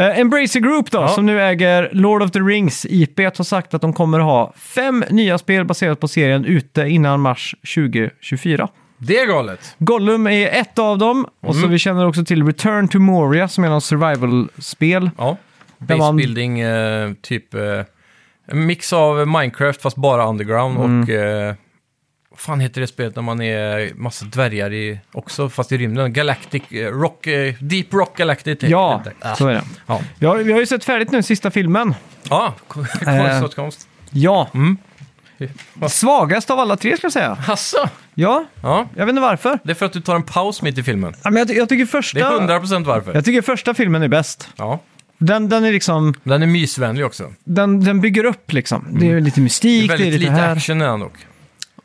S1: Eh, Embracer Group då,
S2: Ja.
S1: som nu äger Lord of the Rings, IP, har sagt att de kommer ha fem nya spel baserat på serien ute innan mars 2024.
S2: Det är galet.
S1: Gollum är ett av dem, och
S2: Mm.
S1: så vi känner också till Return to Moria som är någon survival-spel.
S2: Ja.
S1: Där man-
S2: Basebuilding, eh, typ eh, en mix av Minecraft fast bara underground
S1: Mm.
S2: och... Eh, vad fan heter det spelet när man är massa dvärgar i, också, fast i rymden? Galactic eh, Rock... Eh, Deep Rock Galactic. heter
S1: Ja,
S2: det. Ah.
S1: så är det.
S2: Ja, Ah,
S1: Vi har, vi har ju sett färdigt nu sista filmen.
S2: (laughs) ja.
S1: Eh.
S2: konståtkomst.
S1: Ja.
S2: Mm.
S1: Svagast av alla tre skulle jag säga.
S2: Hasså?
S1: Ja,
S2: Ja,
S1: jag vet inte varför.
S2: det är för att du tar en paus mitt i filmen.
S1: Ja, men jag, ty- jag tycker första...
S2: Det är 100% varför.
S1: Jag tycker första filmen är bäst.
S2: Ja.
S1: Den, den är liksom,
S2: Den är mysvänlig också.
S1: den, den bygger upp liksom. Det är lite mystik, det är,
S2: Mm. Väldigt
S1: lite
S2: lite
S1: här.
S2: action är han dock.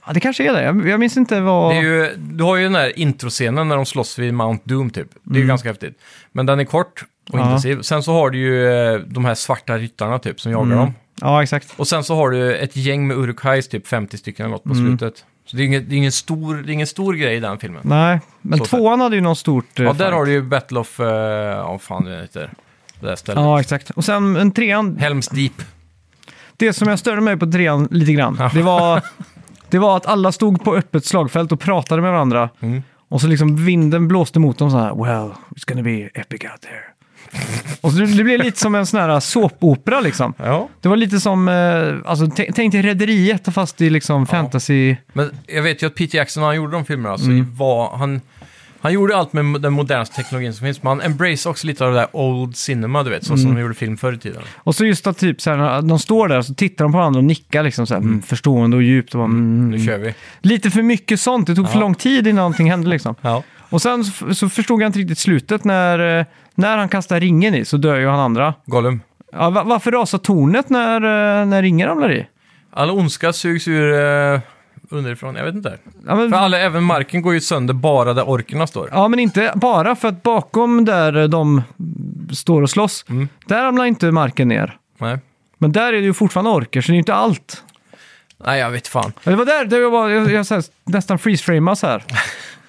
S1: Ja, det kanske är det. Jag, jag minns inte vad...
S2: Det är ju, du har ju den där introscenen när de slåss vid Mount Doom typ. Det är ju ganska häftigt. Men den är kort och
S1: Ja.
S2: intensiv. Sen så har du ju eh, de här svarta ryttarna typ som
S1: Mm.
S2: jagar dem.
S1: Ja, exakt.
S2: Och sen så har du ett gäng med Urukais, typ 50 stycken eller något på slutet. Så det är, ingen, det, är ingen stor, det är ingen stor grej i den filmen.
S1: Nej, men
S2: Så
S1: tvåan hade ju något stort... eh,
S2: Ja, där
S1: fight.
S2: har du ju Battle of... eh, Ja, vad fan det heter. Det där stället.
S1: Ja, exakt. Och sen en trean,
S2: Helms Deep.
S1: det som jag störde mig på trean lite grann, det
S2: (laughs)
S1: var, det var att alla stod på öppet slagfält och pratade med varandra.
S2: Mm.
S1: Och så liksom vinden blåste mot dem så här, well, it's gonna be epic out
S2: (laughs)
S1: there. och så det, det blev lite som en sån här såpopera liksom.
S2: Ja.
S1: Det var lite som, eh, alltså t- tänk dig Rederiet fast i liksom fantasy.
S2: Men jag vet ju att Peter Jackson, när han gjorde de filmerna, så
S1: Mm.
S2: var han... Han gjorde allt med den modernaste teknologin som finns, men han embraceade också lite av det där old cinema, du vet, så
S1: Mm.
S2: som de gjorde film förr i tiden.
S1: Och så just att typ så här, när de står där så tittar de på varandra och nickar liksom så här, mm. förstående och djupt. Och bara, mm.
S2: Nu kör vi.
S1: Lite för mycket sånt, det tog för
S2: Ja.
S1: lång tid innan någonting hände liksom.
S2: Ja.
S1: Och sen så, så förstod jag inte riktigt slutet när, eh, när han kastar ringen i så dör ju han andra.
S2: Gollum.
S1: Ja, va, varför rasar tornet när, eh, när ringen ramlar i?
S2: All ondska sugs ur eh, underifrån, jag vet inte.
S1: Ja men,
S2: För alla, även marken går ju sönder bara där orkerna står.
S1: ja, men inte bara för att bakom där eh, de står och slåss,
S2: Mm.
S1: där ramlar inte marken ner.
S2: Nej.
S1: Men där är det ju fortfarande orker, så det är ju inte allt.
S2: Nej, jag vet fan.
S1: Ja, Det var där, där jag, var, jag, jag så här, nästan freeze-framade så här.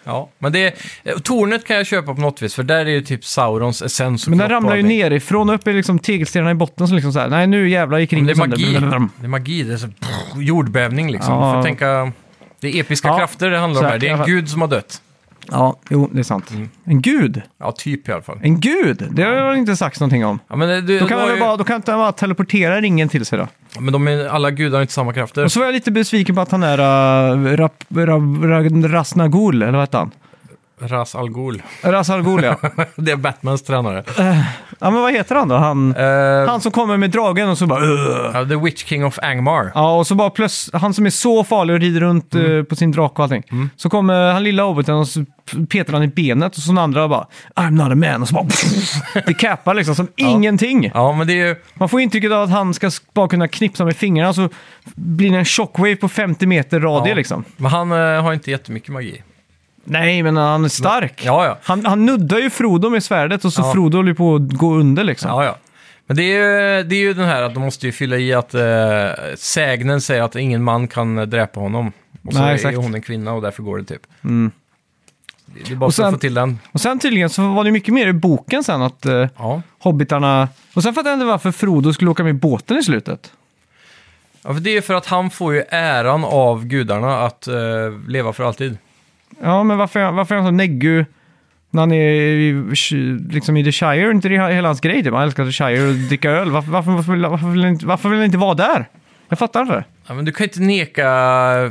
S2: Ja, men det... eh, Tornet kan jag köpa på något vis, för där är ju typ Saurons essens och
S1: Men den
S2: kropp och
S1: ramlar ju
S2: allting.
S1: nerifrån och upp i liksom tegelstenarna i botten. Så liksom så här, nej nu jävlar gick
S2: Det
S1: ringen
S2: är magi.
S1: sönder.
S2: Det är magi, det är så, pff, jordbävning liksom.
S1: Ja.
S2: Får tänka... Det är episka
S1: Ja,
S2: krafter det handlar om
S1: så
S2: här. Det är en
S1: jag-
S2: gud som har dött.
S1: Ja, jo, det är sant.
S2: Mm.
S1: En gud.
S2: Ja, typ i alla fall.
S1: En gud? Det har jag inte sagt någonting om.
S2: Ja, men, eh, du,
S1: Då
S2: du
S1: kan,
S2: har
S1: man väl
S2: ju-
S1: bara, då kan inte han bara teleportera ringen till sig då.
S2: men de är, alla gudar har inte samma krafter.
S1: Och så var jag lite besviken på att han är uh, rap, rap, Rasnagul, eller vad hette han?
S2: Ras Al Ghul. (laughs)
S1: Rasargul, ja.
S2: det är Batmans tränare.
S1: ja. men vad heter han då? Han,
S2: Eh,
S1: han som kommer med dragen och så bara... "Ugh."
S2: ja, The Witch King of Angmar.
S1: Ja, och så bara plus, han som är så farlig och rider runt
S2: Mm.
S1: eh, på sin drake och allting. Så kommer han lilla hobbiten och så petar han i benet och så den andra bara I'm not a man och så bara... (laughs) det cappar liksom som ingenting.
S2: Ja, men det är ju...
S1: Man får intrycket av att han ska bara kunna knipsa med fingrarna så blir det en shockwave på 50 meter radie
S2: Ja.
S1: liksom.
S2: Men han eh, har inte jättemycket magi.
S1: Nej, men han är stark.
S2: Ja, ja.
S1: Han, han nuddar ju Frodo med svärdet och så
S2: Ja.
S1: Frodo håller på att gå under liksom.
S2: Ja, ja. Men det är, ju, det är ju den här att de måste ju fylla i att eh, sägnen säger att ingen man kan eh, dräpa honom. Och så
S1: Nej,
S2: är
S1: exakt. Mm.
S2: hon en kvinna och därför går det typ. Det det är bara
S1: Och
S2: för att
S1: sen-
S2: få till den.
S1: Och sen tydligen så var det mycket mer i boken sen att eh,
S2: Ja.
S1: hobbitarna... Och sen fattade jag inte varför Frodo skulle åka med båten i slutet.
S2: ja, för det är för att han får ju äran av gudarna att eh, leva för alltid.
S1: Ja, men varför, är han- varför är han så neggu när han är i, liksom i The Shire? Inte det hela hans grej? typ? Han älskar The Shire och dricka öl. Varför, varför, varför, vill- varför, vill, han inte- varför vill han inte vara där? Jag fattar inte.
S2: Ja, men du kan ju inte neka... eh,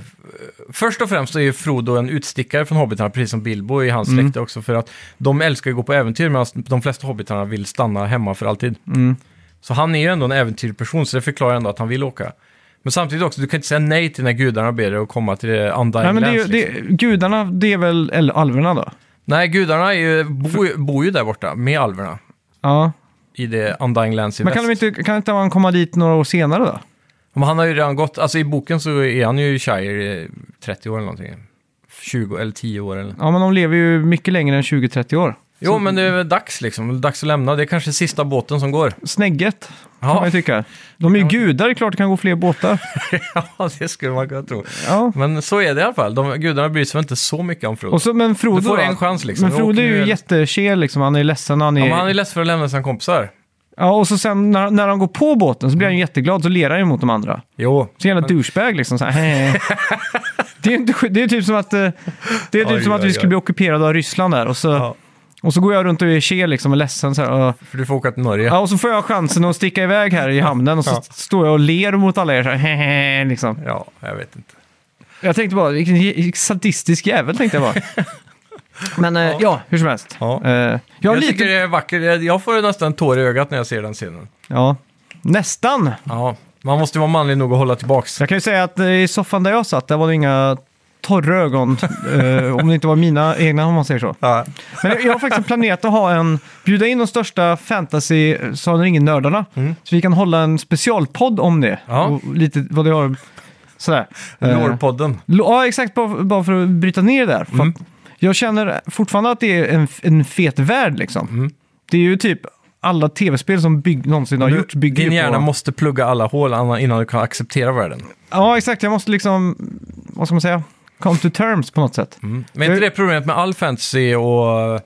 S2: Först och främst så är ju Frodo en utstickare från hobbitarna, precis som Bilbo i hans
S1: Mm.
S2: släkte också, för att de älskar att gå på äventyr medan de flesta hobbitarna vill stanna hemma för alltid.
S1: Mm.
S2: Så han är ju ändå en äventyrperson, så det förklarar ändå att han vill åka. Men samtidigt också, du kan inte säga nej till när gudarna ber dig att komma till det Undying
S1: Nej, men det är ju,
S2: Lands,
S1: det,
S2: liksom.
S1: gudarna, det är väl eller alverna då?
S2: Nej, gudarna är ju, bor, ju- bor ju där borta med alverna
S1: Ja.
S2: i det Undying Lands i
S1: Men kan,
S2: väst.
S1: de inte, kan inte man komma dit några år senare då?
S2: Men han har ju redan gått, alltså i boken så är han ju i Shire i 30 år eller någonting. 20 eller 10 år eller
S1: Ja, men de lever ju mycket längre än 20-30 år.
S2: Jo, men det är väl dags liksom. Dags att lämna. Det är kanske sista båten som går.
S1: Snägget, kan
S2: Ja.
S1: man ju tycka. De är ju gudar, det är klart det kan gå fler båtar.
S2: (laughs) ja, det skulle man kunna tro. (laughs)
S1: Ja.
S2: Men så är det i alla fall. De, gudarna bryr sig väl inte så mycket om Frodo.
S1: Och så, men Frodo
S2: Du får
S1: då?
S2: en chans, liksom.
S1: Men
S2: Då åker
S1: Frodo är
S2: ni
S1: ju
S2: väl-
S1: jättekel liksom, han är ledsen. Han är...
S2: Ja,
S1: Ja,
S2: men han är ledsen för att lämna sina kompisar.
S1: och så sen när, när han går på båten så blir han ju jätteglad, så ler han ju mot de andra.
S2: Jo.
S1: Så jävla douchebag liksom. Så här. det är ju inte, det är typ som att, eh, det är typ
S2: Oj,
S1: som att
S2: oj,
S1: vi
S2: oj.
S1: skulle bli ockuperade av Ryssland där. Och så,
S2: Ja.
S1: och så går jag runt och är kel liksom, och ledsen. Så här, och,
S2: För du får åka till Norge.
S1: Ja, och så får jag chansen att sticka iväg här i hamnen och så
S2: Ja.
S1: står jag och ler mot alla er så här, hehe, liksom.
S2: Ja, jag vet inte.
S1: Jag tänkte bara, vilken j- sadistisk jävel tänkte jag bara.
S2: (laughs)
S1: Men eh, ja. hur som helst.
S2: Ja.
S1: Eh, jag har
S2: Jag
S1: lite...
S2: tycker det är vackert. Jag- Jag får nästan tår i ögat när jag ser den scenen.
S1: Ja, nästan.
S2: Ja, man måste vara manlig nog att hålla tillbaks.
S1: Jag kan ju säga att eh, i soffan där jag satt, där var det inga torra ögon. (laughs) eh, om det inte var mina egna, om man säger så.
S2: Ja.
S1: Men jag har faktiskt planerat att ha en, bjuda in de största fantasy Sagan ringen nördarna Så vi kan hålla en specialpodd om det.
S2: Mm. Ja.
S1: Och lite vad det har Sådär. Eh,
S2: Lårpodden.
S1: Lo- Ja, exakt. Bara, bara för att bryta ner det där. För
S2: Mm.
S1: att Jag känner fortfarande att det är en, en fet värld liksom.
S2: Mm.
S1: Det är ju typ alla tv-spel som bygg, någonsin har
S2: Du-
S1: gjorts bygger
S2: Din
S1: ju
S2: hjärna
S1: på...
S2: måste plugga alla hål annan- innan du kan acceptera världen.
S1: Ja, exakt. Jag måste liksom, vad ska man säga, come to terms på något sätt.
S2: Men är inte
S1: Jag-
S2: det problemet med all fantasy och eh,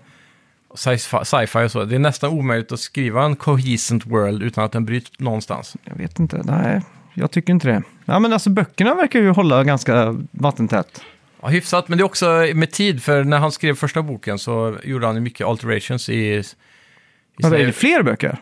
S2: sci-fi sci-fi och så? Det är nästan omöjligt att skriva en cohesent world utan att den bryts någonstans.
S1: Jag vet inte, nej. Jag tycker inte det. Ja, men alltså böckerna verkar ju hålla ganska vattentätt.
S2: Ja, hyfsat, men det är också med tid, för när han skrev första boken så gjorde han ju mycket alterations i... i
S1: Men
S2: sina-
S1: är det fler böcker?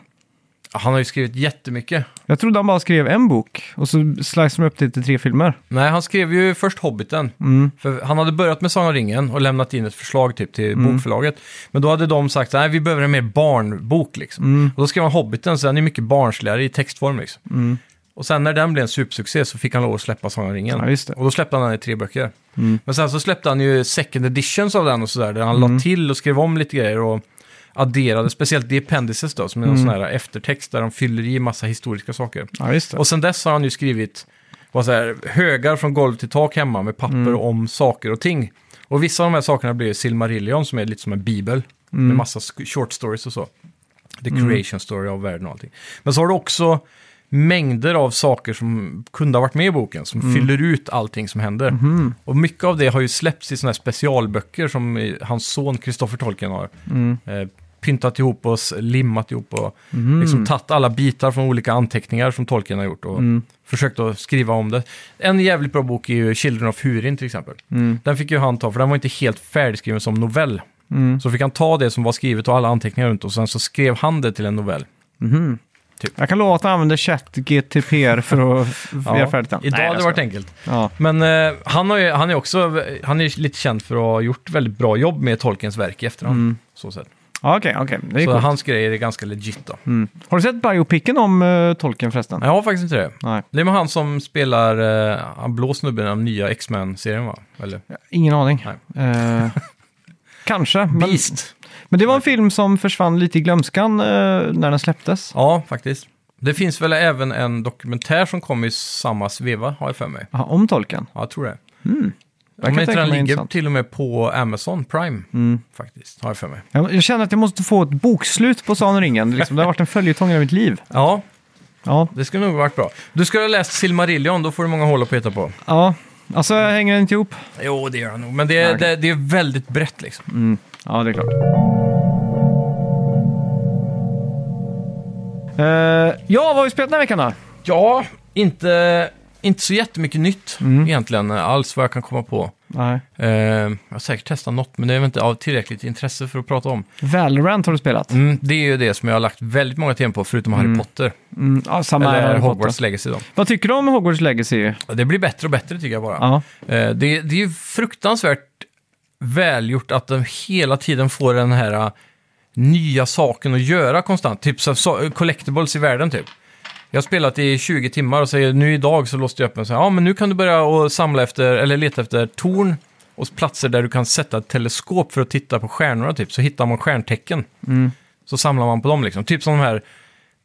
S2: han har ju skrivit jättemycket.
S1: Jag trodde han bara skrev en bok och så sliceade de upp det till tre filmer.
S2: Nej, han skrev ju först Hobbiten.
S1: Mm.
S2: För han hade börjat med Sagan om ringen och lämnat in ett förslag typ till
S1: Mm.
S2: bokförlaget. Men då hade de sagt att vi behöver en mer barnbok liksom.
S1: Mm.
S2: Och då skrev han Hobbiten, så den är mycket barnsligare i textform liksom.
S1: Mm.
S2: Och sen när den blev en supersuccé så fick han lov att släppa Sagan om ringen.
S1: Ja, just det. Mm.
S2: Och då släppte han den i tre böcker. Men sen så släppte han ju second editions av den och sådär, där han la till och skrev om lite grejer och adderade, speciellt The Appendices då, som är någon sån här eftertext där de fyller i massa historiska saker.
S1: Mm. Ja, just det.
S2: Och sen dess har han ju skrivit vad så här, högar från golv till tak hemma med papper om saker och ting. Och vissa av de här sakerna blir Silmarillion som är lite som en bibel med massa sk- short stories och så. The creation story av världen och allting. Men så har du också mängder av saker som kunde ha varit med i boken som fyller ut allting som händer.
S1: Mm-hmm. mm,
S2: Och mycket av det har ju släppts i sådana här specialböcker som eh, hans son Kristoffer Tolkien har eh, pyntat ihop och s- limmat ihop och
S1: mm,
S2: liksom tagit alla bitar från olika anteckningar som Tolkien har gjort och
S1: Mm.
S2: försökt att skriva om det. En jävligt bra bok är ju Children of Hurin till exempel.
S1: Mm.
S2: Den fick ju han ta, för den var inte helt färdigskriven som novell.
S1: mm,
S2: Så fick han ta det som var skrivet och alla anteckningar runt och sen så skrev han det till en novell.
S1: mm.
S2: Typ.
S1: Jag kan lova att jag använder ChatGTPR för att
S2: (laughs) Ja.
S1: göra färdigt den.
S2: Idag
S1: Nej, jag
S2: hade det
S1: skojar.
S2: varit enkelt.
S1: Ja.
S2: Men eh, han, har ju, han är också han är lite känd för att ha gjort väldigt bra jobb med Tolkiens verk i efterhand. Så, sätt.
S1: Ja, Okej, okej. Mm. Det är
S2: så
S1: coolt.
S2: hans grejer är ganska legit då.
S1: Mm. Har du sett biopicen om uh, Tolkien förresten?
S2: Nej, jag har faktiskt inte det.
S1: Nej.
S2: Det är med han som spelar, eh, han blå snubben i den nya X-Men-serien va? Eller?
S1: Ingen aning.
S2: Nej. (laughs)
S1: Eh, kanske. Men,
S2: Beast.
S1: men det var en film som försvann lite i glömskan eh, när den släpptes.
S2: Ja, faktiskt. Det finns väl även en dokumentär som kom i samma sveva, har jag för mig.
S1: Aha, om Tolkien.
S2: Ja, jag tror det.
S1: Jag
S2: Om
S1: kan
S2: inte
S1: tänka
S2: den
S1: mig
S2: ligger
S1: intressant. Mm.
S2: till och med på Amazon Prime, faktiskt, har jag för mig.
S1: Jag, jag känner att jag måste få ett bokslut på Sagan om ringen. Liksom, det har varit en följetong i mitt liv.
S2: Ja,
S1: Ja,
S2: det skulle nog varit bra. Du skulle ha läst Silmarillion, då får du många hål att peta på.
S1: ja. Alltså, jag hänger inte ihop.
S2: Jo, det gör han nog. Men det är,
S1: Ja, okej.
S2: det, det är väldigt brett liksom.
S1: Ja, det är klart. Eh, ja, vad har vi spelat den här veckan då?
S2: Ja, inte, inte så jättemycket nytt
S1: Mm.
S2: egentligen eh, alls vad jag kan komma på.
S1: Nej.
S2: Eh, jag har säkert testat något, men det är väl inte av tillräckligt intresse för att prata om.
S1: Valorant har du spelat.
S2: Mm, det är ju det som jag har lagt väldigt många timmar på, förutom Harry Potter.
S1: Mm, ja, samma här har
S2: eller
S1: jag fått då.
S2: Hogwarts Legacy då.
S1: Vad tycker du om Hogwarts Legacy?
S2: Och Det blir bättre och bättre tycker jag bara.
S1: Ja.
S2: Eh, det, det är ju fruktansvärt välgjort att de hela tiden får den här eh, nya saken att göra konstant. Typ så, så, collectibles i världen typ. Jag har spelat i 20 timmar och säger nu idag så låste jag upp en så här, ja men nu kan du börja och samla efter, eller leta efter torn och platser där du kan sätta ett teleskop för att titta på stjärnorna typ, så hittar man stjärntecken. Så samlar man på dem liksom. Typ som de här,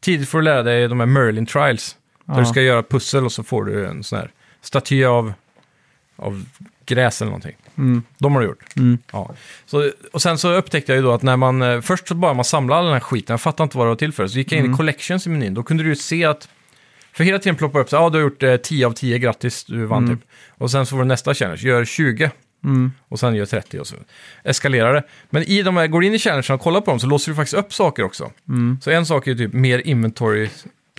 S2: tidigt får du lära dig de här Merlin Trials. Där
S1: Ja.
S2: du ska göra pussel och så får du en sån här staty av, av gräs eller någonting.
S1: Mm,
S2: De har du gjort. Ja. Så, och sen så upptäckte jag ju då att när man, eh, först så bara man samlade all den här skiten, jag fattade inte vad det var till för, så gick
S1: Mm.
S2: jag in i collections i menyn, då kunde du ju se att, för hela tiden ploppar upp så, ja ah, du har gjort eh, 10 av 10, grattis, du vann
S1: Mm.
S2: typ. Och sen så var det nästa challenge, gör 20. Och sen gör 30 och så eskalerar det. Men i de här, går du in i challengerna och kollar på dem så låser du faktiskt upp saker också.
S1: Mm.
S2: Så en sak är ju typ mer inventory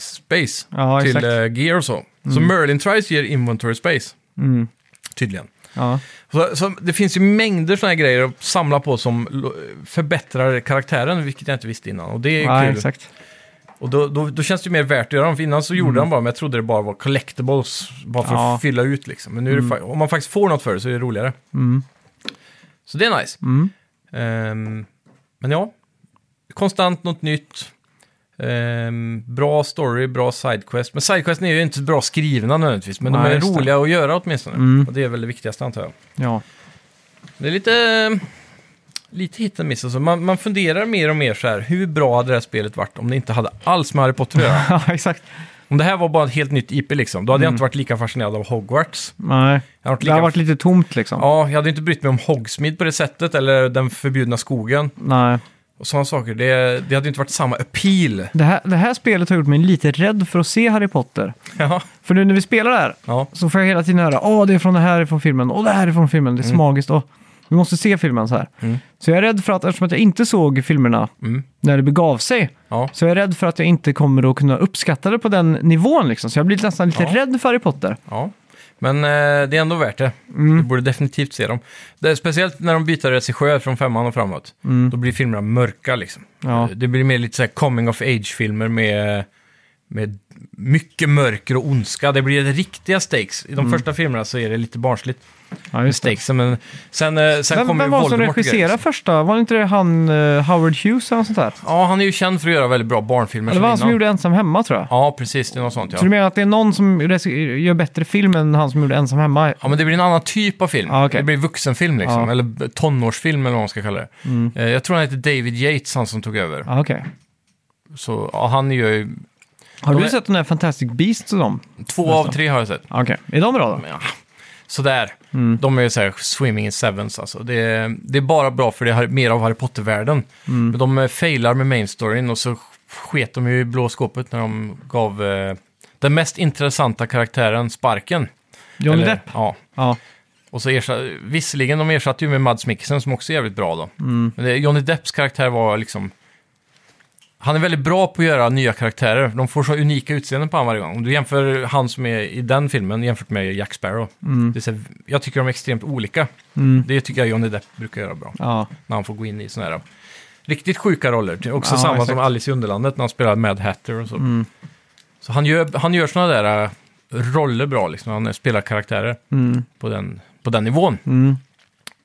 S2: space
S1: Ja,
S2: till
S1: exakt.
S2: eh, gear och så. Så Merlin Tries ger inventory space,
S1: Mm.
S2: tydligen.
S1: Ja.
S2: Så, så det finns ju mängder sådana här grejer att samla på som lo- förbättrar karaktären, vilket jag inte visste innan. Och det är
S1: Nej,
S2: kul.
S1: exakt.
S2: Och då, då, då känns det ju mer värt att göra dem, för innan så gjorde de bara, men jag trodde det bara var collectibles, bara för
S1: Mm. Ja. Mm.
S2: att fylla ut liksom. Men nu är det, fa- om man faktiskt får något för det så är det roligare. Så det är nice.
S1: mm.
S2: Ehm, men ja, konstant något nytt. Ehm, bra story, bra sidequest. Men sidequesten är ju inte bra skrivna nödvändigtvis, men
S1: Nej,
S2: de är
S1: just det.
S2: roliga att göra åtminstone.
S1: Mm.
S2: Och det är väl det viktigaste antar jag.
S1: Ja.
S2: Det är lite, lite hit och miss. Alltså. Man, man funderar mer och mer så här, hur bra hade det här spelet varit om det inte hade alls med Harry Potter att göra?
S1: (laughs) ja, exakt.
S2: Om det här var bara ett helt nytt IP liksom, då hade jag inte varit lika fascinerad av Hogwarts.
S1: Nej.
S2: Jag hade varit
S1: Mm. Det har
S2: lika...
S1: varit lite tomt liksom.
S2: Ja, jag hade inte brytt mig om Hogsmeade på det sättet, eller Den förbjudna skogen.
S1: Nej.
S2: Och sådana saker, det, det hade ju inte varit samma appeal. (laughs)
S1: Det här, det här spelet har gjort mig lite rädd för att se Harry Potter.
S2: Ja,
S1: För nu när vi spelar det här
S2: ja.
S1: så får jag hela tiden höra åh det är från det här, är från filmen, åh det här är från filmen, det är så magiskt, åh, vi måste se filmen så här.
S2: Mm.
S1: Så jag är rädd för att, eftersom att jag inte såg filmerna
S2: Mm.
S1: när det begav sig,
S2: ja.
S1: så jag är rädd för att jag inte kommer att kunna uppskatta det på den nivån liksom. Så jag blir nästan lite
S2: Ja.
S1: rädd för Harry Potter.
S2: ja. Men eh, det är ändå värt det.
S1: Mm.
S2: Du borde definitivt se dem. Det är, speciellt när de byter regissör från femman och framåt. Då blir filmerna mörka liksom.
S1: Mm. Ja.
S2: Det blir mer lite så här coming of age-filmer med, med mycket mörker och ondska. Det blir riktiga stakes. I de
S1: Mm.
S2: första filmerna så är det lite barnsligt.
S1: Ja, just det.
S2: Stakesen, men sen, eh, sen
S1: Vem,
S2: kommer
S1: vem
S2: ju
S1: var det som
S2: Voldemort och grejer,
S1: regisserade
S2: liksom.
S1: första? Var det inte det han eh, Howard Hughes eller något sånt där?
S2: Ja, han är ju känd för att göra väldigt bra barnfilmer.
S1: Eller var
S2: sedan
S1: han som
S2: innan.
S1: gjorde Ensam Hemma tror jag?
S2: Ja, precis. Det är något sånt,
S1: Så du
S2: ja.
S1: menar att det är någon som regi- gör bättre film än han som gjorde Ensam Hemma?
S2: Ja, men det blir en annan typ av film.
S1: Ja, okej.
S2: Det blir vuxenfilm liksom,
S1: Ja. Mm.
S2: eller tonårsfilm eller vad man ska kalla det. Eh, Jag tror han heter David Yates, han som tog över.
S1: Ja, Ah, okej.
S2: Så ja, han gör ju...
S1: Har
S2: De
S1: du
S2: är-
S1: sett den här Fantastic Beasts och dem? Ah,
S2: Två av tre har jag sett.
S1: Okej, är de bra då?
S2: Ja, sådär. De är ju såhär swimming in sevens alltså. Det är, det är bara bra för det är mer av Harry Potter-världen.
S1: Mm.
S2: Men de eh, failar med main storyn och så sket de ju i blå skåpet när de gav eh, den mest intressanta karaktären sparken.
S1: Johnny
S2: Eller-
S1: Depp?
S2: Ja.
S1: Ja.
S2: Och så ersatte, visserligen, de ersatte ju med Mads Mikkelsen som också är jävligt bra då. Men det, Johnny Depps karaktär var liksom... Han är väldigt bra på att göra nya karaktärer. De får så unika utseenden på honom varje gång. Om du jämför han som är i den filmen jämfört med Jack Sparrow. Det är så, här- jag tycker de är extremt olika. Det tycker jag Johnny Depp brukar göra bra.
S1: ja.
S2: När han får gå in i sådana här riktigt sjuka roller. Det är Också
S1: Ja,
S2: samma
S1: exakt. Mm.
S2: som Alice i Underlandet när han spelar Mad Hatter och så. Så han gör, han gör sådana där äh, roller bra liksom. Han spelar karaktärer
S1: Mm.
S2: på den, på den nivån.
S1: Mm.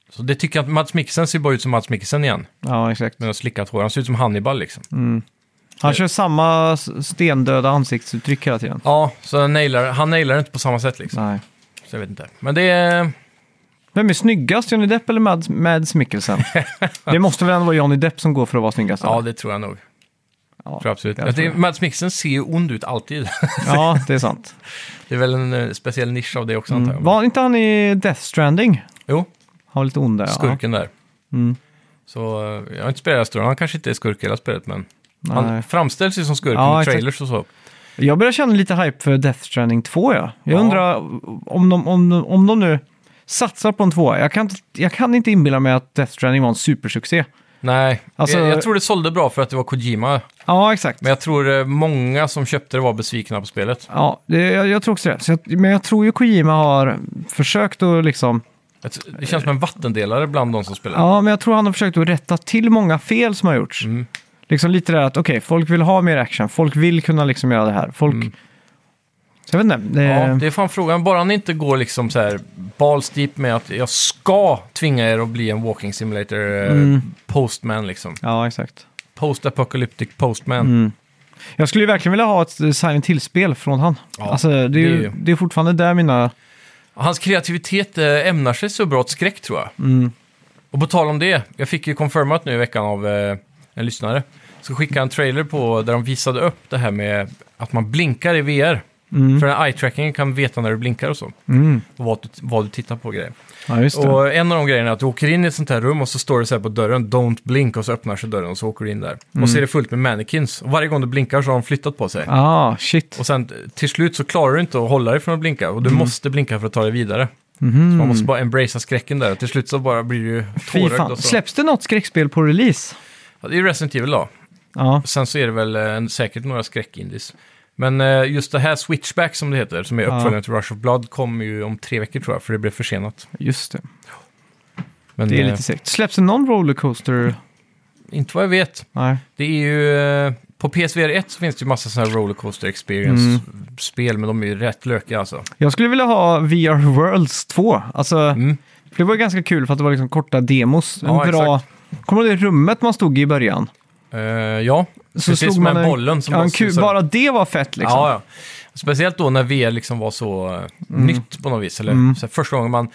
S2: Så det tycker jag att Mats Mikkelsen ser bara ut som Mats Mikkelsen igen.
S1: ja, exakt.
S2: Med en slickat hår. Han ser ut som Hannibal liksom.
S1: Mm. Han kör samma s- stendöda ansiktsuttryck hela tiden.
S2: Ja, så han nailar, han nailar inte på samma sätt liksom.
S1: Nej.
S2: Så jag vet inte. Men det är...
S1: Vem är snyggast, Johnny Depp eller Mads, Mads
S2: (laughs)
S1: Mikkelsen? det måste väl ändå vara Johnny Depp som går för att vara snyggast?
S2: Ja,
S1: eller?
S2: det tror jag nog.
S1: ja.
S2: Tror jag absolut.
S1: jag
S2: Jag
S1: tror
S2: tror Mats Mikkelsen ser ju ond ut alltid. (laughs)
S1: ja, det är sant.
S2: det är väl en eh, speciell nisch av det också antar jag.
S1: Var inte han i Death Stranding?
S2: Jo,
S1: Han var lite ond där. ja.
S2: skurken där.
S1: Mm.
S2: Så eh, jag har inte spelat historien. Han kanske inte är skurk i hela spelet, men...
S1: Nej.
S2: Han framställs ju som skurk
S1: Ja,
S2: i
S1: exakt.
S2: trailers och så.
S1: Jag börjar känna lite hype för Death Stranding 2. Ja. Jag
S2: Ja.
S1: undrar om de, om, de, om de nu satsar på en tvåa. Jag kan, inte- jag kan inte inbilla mig att Death Stranding var en supersuccé.
S2: Nej,
S1: Alltså-
S2: jag, jag tror det sålde bra för att det var Kojima.
S1: Ja, exakt.
S2: Men jag tror eh, många som köpte det var besvikna på spelet.
S1: Ja, det, jag, jag tror också det. Så jag, men jag tror ju Kojima har försökt att liksom...
S2: Jag t- Det känns som en vattendelare bland de som spelar.
S1: Ja, men jag tror han har försökt att rätta till många fel som har gjorts.
S2: Mm.
S1: Liksom lite där att okej, folk vill ha mer action. Folk vill kunna liksom göra det här. Folk... Så jag vet inte. Det,
S2: Mm. Ja, det är fan frågan. Bara han inte går liksom så här balls deep med att jag ska tvinga er att bli en walking simulator eh,
S1: Mm.
S2: postman liksom.
S1: ja, exakt.
S2: Post apocalyptic postman.
S1: Mm. Jag skulle ju verkligen vilja ha ett eh, Silent Hill-spel från han.
S2: Ja,
S1: alltså, det är,
S2: det är
S1: ju,
S2: ju-
S1: det är fortfarande där mina...
S2: Hans kreativitet eh, ämnar sig så bra åt skräck tror jag.
S1: mm,
S2: Och på tal om det, jag fick ju confirmat nu i veckan av eh, en lyssnare. Så skickade jag en trailer på där de visade upp det här med att man blinkar i VR.
S1: Mm.
S2: För den här eye-trackingen kan veta när du blinkar och så. Och vad du, vad du tittar på och grejer.
S1: Ja, just det.
S2: Och en av de grejerna är att du åker in i ett sånt här rum och så står det så här på dörren, don't blink, och så öppnar sig dörren och så åker du in där.
S1: Mm.
S2: Och så är det fullt med mannequins. Och varje gång du blinkar så har de flyttat på sig.
S1: Ah, shit.
S2: Och sen till slut så klarar du inte att hålla dig från att blinka och du
S1: Mm.
S2: måste blinka för att ta dig vidare. Så man måste bara embracea skräcken där och till slut så bara blir du ju
S1: Mhm. Fy
S2: tårögd
S1: fan.
S2: och så.
S1: Släpps det något skräckspel på release?
S2: Ja, det är ju Resident Evil då.
S1: Ja,
S2: Sen så är det väl eh, säkert några skräckindis. Men eh, just det här Switchback som det heter, som är uppföljaren till Rush of Blood, kommer ju om tre veckor tror jag, för det blev försenat.
S1: just det.
S2: Men
S1: Det är lite segt. Släpps det någon rollercoaster?
S2: eh, inte vad jag vet.
S1: Nej.
S2: Det är ju... eh, På PSVR 1 så finns det ju massa sådana här rollercoaster
S1: Mm.
S2: experience-spel, men de är ju rätt lökiga alltså.
S1: Jag skulle vilja ha VR Worlds 2. Alltså,
S2: Mm.
S1: för Det var ju ganska kul för att det var liksom korta demos. En
S2: Ja,
S1: bra... Kommer du ihåg det rummet man stod i i början?
S2: Eh, ja,
S1: Så
S2: precis
S1: slog
S2: som
S1: man
S2: med
S1: en-
S2: bollen som
S1: Ja, en kul...
S2: susar.
S1: Bara det var fett liksom.
S2: ja, ja.
S1: Mm.
S2: Speciellt då när VR liksom var så eh, nytt på något vis. Eller så här, första gången man...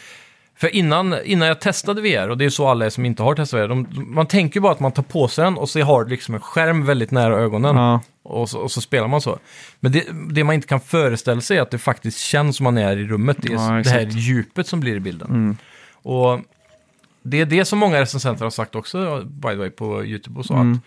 S2: För innan, innan jag testade VR, och det är så alla är som inte har testat VR, de, man tänker ju bara att man tar på sig den och så har det liksom en skärm väldigt nära ögonen.
S1: Ja.
S2: Och, så, och så spelar man så. Men det, det man inte kan föreställa sig är att det faktiskt känns som man är i rummet. Det,
S1: Ja,
S2: är det här
S1: exakt. Mm.
S2: djupet som blir i bilden. Och det är det som många recensenter har sagt också, by the way, på YouTube och så.
S1: Mm.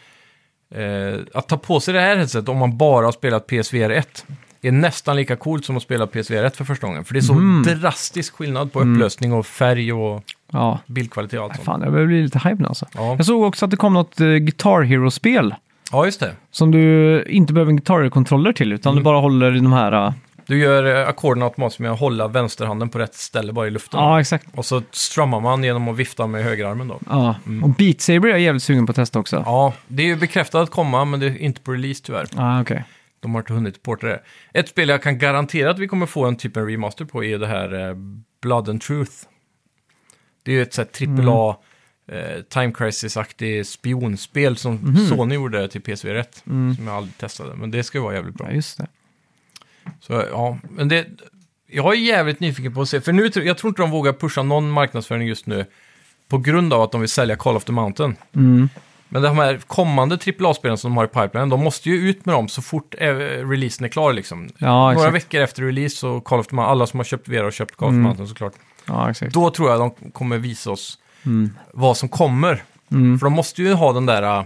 S2: Att, eh, att ta på sig det här headsetet om man bara har spelat PSVR 1 är nästan lika coolt som att spela PSVR 1 för första gången. För det är så
S1: Mm.
S2: drastisk skillnad på upplösning och färg och
S1: Ja,
S2: bildkvalitet och allt sånt.
S1: fan jag börjar bli lite hype nu alltså.
S2: Ja.
S1: Jag såg också att det kom något eh, Guitar Hero-spel
S2: Ja, just det.
S1: som du inte behöver en Guitar Hero-kontroller till utan du bara håller i de här... eh,
S2: Du gör eh, ackorden automatiskt med att hålla vänsterhanden på rätt ställe bara i luften.
S1: Ja, exakt.
S2: Och så strummar man genom att vifta med högerarmen då.
S1: Ja. Och Beat Saber är jag jävligt sugen på att testa också.
S2: Ja, det är ju bekräftat att komma, men det är inte på release tyvärr.
S1: Ah, okej.
S2: De har inte hunnit porta det. Ett spel jag kan garantera att vi kommer få en typ av remaster på är ju det här eh, Blood and Truth. Det är ju ett sånt här AAA eh, Time Crisis-aktigt spionspel som Sony gjorde till PSV 1. Som jag aldrig testade, men det ska ju vara jävligt bra.
S1: Ja, just det.
S2: Så ja, men det... Jag är jävligt nyfiken på att se, för nu, tror- jag tror inte de vågar pusha någon marknadsföring just nu på grund av att de vill sälja Call of the Mountain.
S1: Mm.
S2: Men de här kommande AAA-spelen som de har i pipeline, de måste ju ut med dem så fort eh, releasen är klar liksom.
S1: Ja,
S2: Några
S1: exakt.
S2: veckor efter release så Call of the Mountain, alla som har köpt Vera har köpt Call of the
S1: Mm.
S2: Mountain såklart.
S1: Ja, exakt.
S2: Då tror jag de kommer visa oss
S1: Mm.
S2: vad som kommer.
S1: Mm.
S2: För de måste ju ha den där... Uh,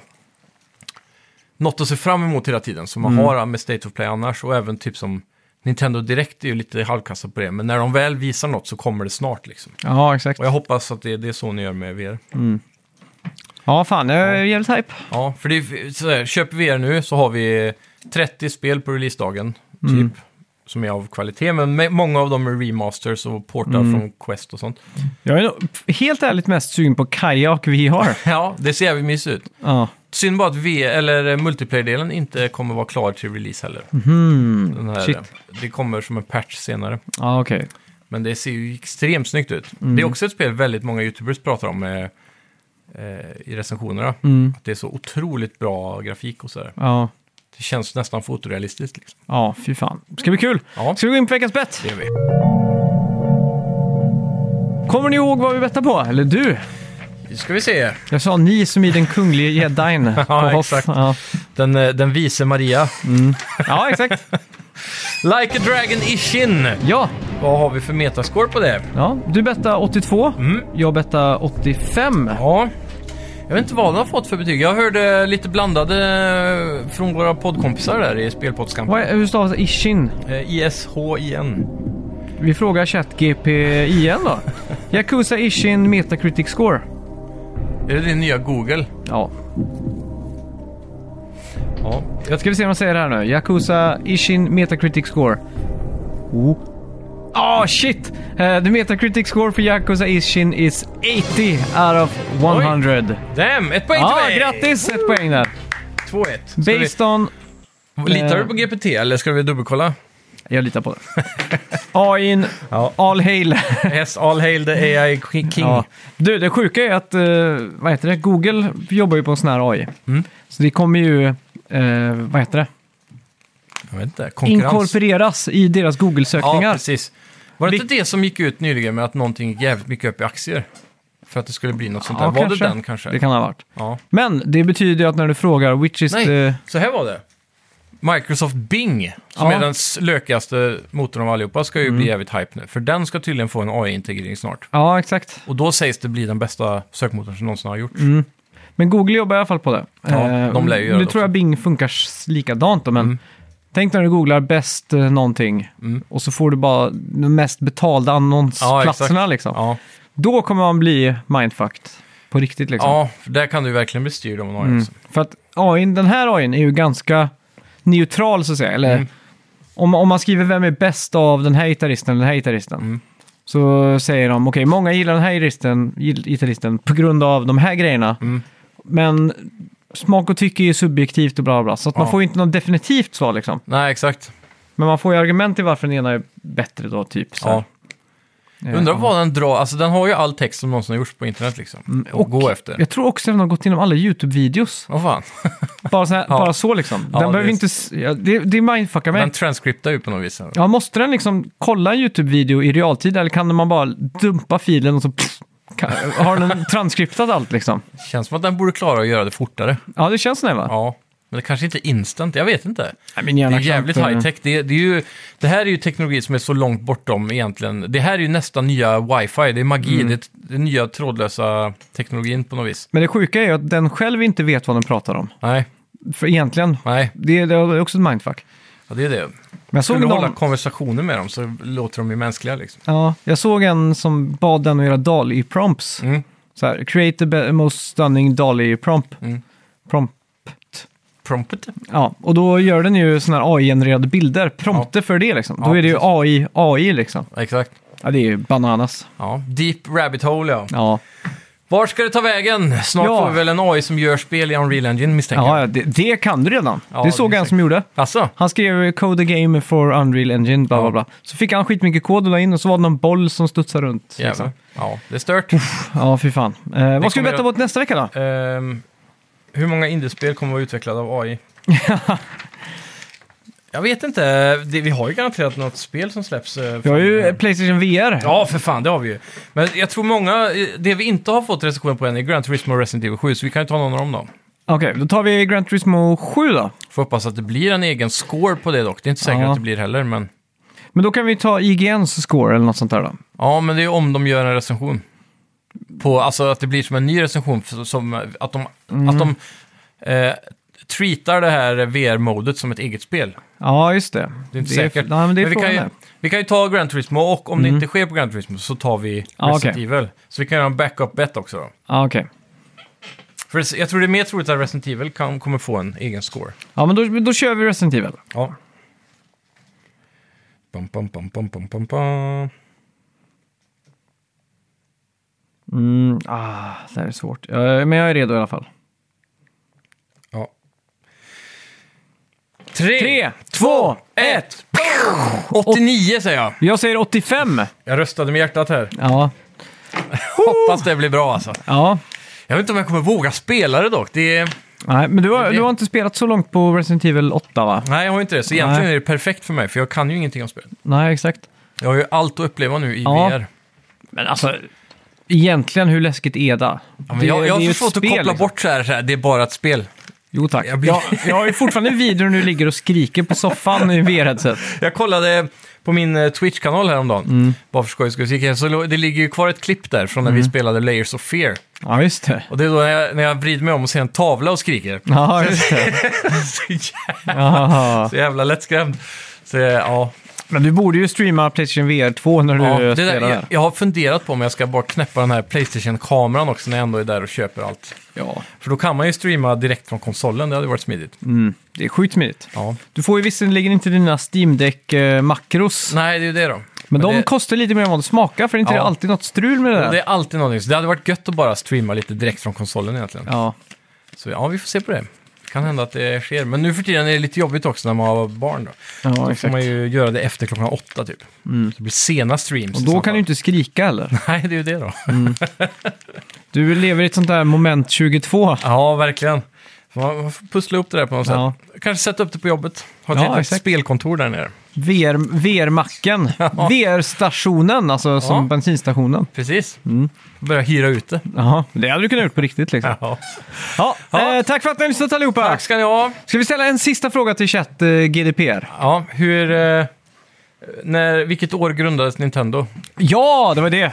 S2: något att se fram emot hela tiden, som man
S1: Mm.
S2: har eh, med State of Play annars. Och även typ som Nintendo Direkt är ju lite halvkassa på det. Men när de väl visar något så kommer det snart liksom.
S1: Ja, exakt.
S2: Och jag hoppas att det är det Sony gör med VR.
S1: Ja, fan, jag är jävligt hype.
S2: Ja, för det är sådär, köper VR nu så har vi 30 spel på releasedagen, typ. Som är av kvalitet, men med, många av dem är remasters och portar från Quest och sånt.
S1: Jag är nog helt ärligt mest sugen på Kajak (laughs) VR.
S2: Ja, det ser jävligt mysigt ut.
S1: Ja.
S2: Synd bara att v, eller eh, multiplayer-delen inte kommer vara klar till release heller. Den här,
S1: Mm. shit.
S2: eh, Det kommer som en patch senare.
S1: Mhm. Ja, okej.
S2: Men det ser ju extremt snyggt ut. Det är också ett spel väldigt många YouTubers pratar om eh, eh, i recensionerna.
S1: Mm.
S2: Att det är så otroligt bra grafik och sådär.
S1: Ja.
S2: Det känns nästan fotorealistiskt. Liksom.
S1: ja, fy fan. Ska bli kul.
S2: Ja.
S1: Ska vi gå in på veckans bett?
S2: Det är vi.
S1: Kommer ni ihåg vad vi bettade på? Eller du?
S2: Nu ska vi se.
S1: Jag sa ni som i den kunglige jedin. på
S2: (laughs) Ja,
S1: Hoth.
S2: exakt.
S1: Ja.
S2: Den, eh, den vise Maria.
S1: ja, exakt.
S2: Like a dragon ishin.
S1: Ja.
S2: Vad har vi för metascore på det?
S1: ja. Du bettade 82.
S2: Mm.
S1: Jag bettade 85.
S2: Ja. Jag vet inte vad den har fått för betyg. Jag hörde lite blandade eh, från våra poddkompisar där i
S1: Vad
S2: Spelpoddskampen.
S1: är, hur stavas Ishin?
S2: Eh, ISHIN.
S1: Vi frågar ChatGP igen
S2: (laughs)
S1: då. Yakuza Ishin Metacritic Score.
S2: Är det din nya Google?
S1: Ja.
S2: Ja. Jag
S1: Ska vi se vad de säger här nu. Yakuza Ishin Metacritic Score. Oh. Ah shit! Eh, the Metacritic score för Yakuza Ishin is 80 out of 100.
S2: Damn, ett poäng
S1: Ah,
S2: till mig!
S1: grattis! Ett poäng där.
S2: 2-1. Ska
S1: Based on...
S2: vi- Litar du på GPT eller ska vi dubbelkolla?
S1: Jag litar på det. (laughs) AIn, all hail.
S2: Yes, all hail the AI king.
S1: Ja. Du, det sjuka är att eh, vad heter det? Google jobbar ju på en sån här AI.
S2: Mm.
S1: Så det kommer ju, eh, vad heter det?
S2: Jag vet inte, konkurrens.
S1: Inkorporeras i deras
S2: Ja,
S1: Google-sökningar.
S2: precis. Var det
S1: Vi-
S2: inte det som gick ut nyligen med att någonting gick jävligt mycket upp i aktier? För att det skulle bli något sånt där.
S1: Ja,
S2: var det den kanske?
S1: Det kan ha varit.
S2: Ja.
S1: Men det betyder ju att när du frågar which is
S2: Nej,
S1: the...
S2: så här var det. Microsoft Bing, som
S1: eh, Ja. Mm.
S2: är den s- lökigaste motorn av allihopa, ska ju bli jävligt hype nu. För den ska tydligen få en AI-integrering snart.
S1: Ja, exakt.
S2: Och då sägs det bli den bästa sökmotorn som någonsin har gjorts.
S1: Mm. Men Google jobbar i alla fall på det.
S2: Ja,
S1: Eh,
S2: de lär ju göra
S1: Nu
S2: det Mm.
S1: tror jag Bing funkar s- likadant då, men tänk när du googlar bäst eh, någonting och så får du bara de mest betalda annonsplatserna liksom.
S2: Ja,
S1: Då kommer man bli mindfucked på riktigt liksom.
S2: ja för där kan du ju verkligen bli styrd av en AI. Också.
S1: För att AI, den här AI n är ju ganska neutral så att säga. Eller
S2: Mm.
S1: om, om man skriver vem är bäst av den här gitarristen eller den här gitarristen.
S2: Mm.
S1: Så säger de, okej, många gillar den här gitarristen, gill- gitarristen på grund av de här grejerna.
S2: Mm.
S1: Men smak och tycke är ju subjektivt och bla bla, bla. Så att man
S2: Ja.
S1: får ju inte något definitivt svar liksom.
S2: Nej, exakt.
S1: Men man får ju argument till varför den ena är bättre då, typ. Så här.
S2: Ja. Jag undrar vad den drar, alltså den har ju all text som någonsin har gjorts på internet liksom.
S1: Mm,
S2: och gå efter.
S1: Jag tror också att den har gått igenom alla YouTube-videos.
S2: Vad fan.
S1: Bara så, här,
S2: Ja.
S1: bara så liksom. Den
S2: Ja,
S1: behöver
S2: det-
S1: inte... s- Ja, det, det mindfuckar mig.
S2: Den transcriptar ju på något vis.
S1: Ja, måste den liksom kolla en YouTube-video i realtid eller kan man bara dumpa filen och så pff, kan, har
S2: (laughs)
S1: den transkriptat allt liksom?
S2: Känns som att den borde klara att göra det fortare.
S1: Ja, det känns så där, va?
S2: Ja, men det kanske inte är instant, jag vet inte.
S1: Nej, min
S2: Det
S1: hjärna
S2: är
S1: kan
S2: jävligt
S1: inte-
S2: high tech. Det, är- det, är ju, det här är ju teknologi som är så långt bortom egentligen. Det här är ju nästan nya wifi, det är magi,
S1: Mm.
S2: det, är t- det är nya trådlösa teknologin på något vis.
S1: Men det sjuka är ju att den själv inte vet vad den pratar om.
S2: Nej,
S1: För egentligen,
S2: nej,
S1: det, det är också ett mindfuck.
S2: ja, det är det.
S1: Men jag
S2: Skulle
S1: såg,
S2: du hålla
S1: någon,
S2: konversationer med dem så låter de ju mänskliga liksom.
S1: ja, jag såg en som bad den att göra DALI-prompts.
S2: Mm.
S1: Så här, create the be- most stunning DALI-prompt.
S2: Mm.
S1: Prompt.
S2: Prompet?
S1: Ja, och då gör den ju sådana här AI-genererade bilder, prompter för det liksom.
S2: Ja,
S1: då är det ju AI, AI liksom.
S2: Ja, exakt.
S1: Ja, det är ju bananas.
S2: Ja, deep rabbit hole ja.
S1: Ja,
S2: Var ska det ta vägen? Snart
S1: Ja.
S2: får vi väl en AI som gör spel i Unreal Engine misstänker jag.
S1: ja ja, det, det kan du redan.
S2: Ja,
S1: det såg
S2: det
S1: jag en
S2: säkert.
S1: som gjorde.
S2: Alltså,
S1: Han skrev eh, Code a Game for Unreal Engine, bla
S2: Ja.
S1: bla bla. Så fick han skitmycket kod och la in och så var det någon boll som studsade runt. Liksom.
S2: jävlar. Ja, det är stört.
S1: Ja, fy fan. Eh, vad ska vi
S2: kommer
S1: betta på nästa vecka då?
S2: Ehm, hur många indiespel kommer att vara utvecklade
S1: (laughs)
S2: av AI? jag vet inte. Det, vi har ju garanterat något spel som släpps. eh,
S1: Vi har ju eh,
S2: från-
S1: Playstation VR.
S2: Ja, för fan, det har vi ju. Men jag tror många... eh, Det vi inte har fått recension på än är Gran Turismo och Resident Evil 7, så vi kan ju ta någon av dem då.
S1: Okej, då tar vi Gran Turismo 7 då.
S2: Får hoppas att det blir en egen score på det dock. Det är inte säkert
S1: Ja.
S2: att det blir heller, men...
S1: Men då kan vi ta IGNs score eller något sånt där då.
S2: Ja, men det är ju om de gör en recension. På, alltså att det blir som en ny recension, f- som eh, att de...
S1: Mm.
S2: Att de eh, treatar det här VR-modet som som ett eget spel.
S1: Ja, just det.
S2: Det är inte
S1: f-
S2: säkert.
S1: Nej, men det är
S2: vi, kan
S1: frågan
S2: ju,
S1: där.
S2: vi kan ju ta Gran Turismo och om det inte sker på Gran Turismo så tar vi
S1: Mm. Ja,
S2: Resident
S1: okej.
S2: Evil. Så vi kan göra en backup bet också då.
S1: Ja, okej.
S2: För det- jag tror det är mer troligt att Resident Evil kan, kommer få en egen score.
S1: Ja, men då, då kör vi Resident Evil.
S2: Ja. Bum, bum, bum, bum, bum, bum, bum.
S1: Mm, ah, det här är svårt. Eh, men jag är redo i alla fall.
S2: Ja. Tre,
S1: Tre, två, ett.
S2: 89 säger jag.
S1: Jag säger 85!
S2: Jag röstade med hjärtat här.
S1: Ja.
S2: Hoppas det blir bra alltså.
S1: Ja.
S2: Jag vet inte om jag kommer våga spela det dock. Det är...
S1: Nej, men du har,
S2: det-
S1: du har inte spelat så långt på Resident Evil 8 va?
S2: Nej, jag har inte det. Så egentligen
S1: Nej.
S2: är det perfekt för mig, för jag kan ju ingenting om spelet.
S1: Nej, exakt.
S2: Jag har ju allt att uppleva nu i
S1: Ja.
S2: VR.
S1: Men alltså, egentligen hur läskigt är det?
S2: Ja, men jag, jag
S1: är
S2: har
S1: ju
S2: så
S1: ett
S2: svårt att
S1: spel, liksom.
S2: koppla bort så här, så här, det är bara ett spel.
S1: Jo tack.
S2: Jag
S1: Jag,
S2: blir-
S1: jag, har ju fortfarande videon när du ligger och skriker på soffan i VR-headset.
S2: Jag kollade på min eh, Twitch-kanal häromdagen,
S1: Mm.
S2: bara för skojs skull, så gick jag- så lo- det ligger ju kvar ett klipp där från när vi spelade Layers of Fear.
S1: Ja, just det.
S2: Och det är då när jag, när jag vrider mig om och ser en tavla
S1: (laughs)
S2: och skriker.
S1: Ja, just det.
S2: så, jävla,
S1: Aha.
S2: så jävla lättskrämd. Så eh, ja,
S1: Men du borde ju streama Playstation VR 2 när du
S2: ja det
S1: spelar
S2: där, jag,
S1: där.
S2: jag har funderat på om jag ska bara knäppa den här Playstation-kameran också när jag ändå är där och köper allt.
S1: Ja.
S2: För då kan man ju streama direkt från konsolen, det hade ju varit smidigt.
S1: Mm, det är sjukt smidigt.
S2: Ja.
S1: Du får ju visserligen inte dina steam deck eh, makros
S2: Nej, det är ju det då.
S1: men, de
S2: det,
S1: kostar lite mer än vad de smakar, för inte
S2: Ja.
S1: det är alltid något strul med det där.
S2: Det är alltid någonting. Så det hade varit gött att bara streama lite direkt från konsolen egentligen.
S1: Ja.
S2: Så ja, vi får se på det. Det kan hända att det sker. Men nu för tiden är det lite jobbigt också när man har barn då.
S1: ja,
S2: Då får
S1: exakt. Mm.
S2: man ju göra det efter klockan åtta typ. Så det blir sena streams.
S1: Och
S2: i
S1: då
S2: sådana
S1: kan du
S2: fall.
S1: inte skrika heller.
S2: (laughs) Nej, det är ju det då.
S1: Du lever i ett sånt där moment 22.
S2: Ja, verkligen. Så Man man får pussla upp det där på något
S1: Ja.
S2: sätt. Kanske sätta upp det på jobbet. Ha ett
S1: Ja,
S2: litet
S1: exakt.
S2: spelkontor där nere.
S1: VR,
S2: (laughs)
S1: VR-macken. VR-stationen, alltså som bensinstationen.
S2: Precis.
S1: Mm.
S2: Börja hyra ut det.
S1: Jaha, det hade du kunnat gjort på riktigt liksom.
S2: Ja.
S1: Ja.
S2: Ja.
S1: Eh, tack för att ni har lyssnat allihopa.
S2: Tack ska ni ha.
S1: Ska vi ställa en sista fråga till chatt eh, GDPR?
S2: Ja, hur... eh, När, vilket år grundades Nintendo?
S1: Ja, det var det.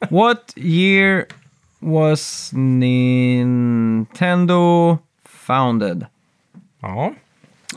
S1: (laughs) What year was Nintendo founded?
S2: Ja.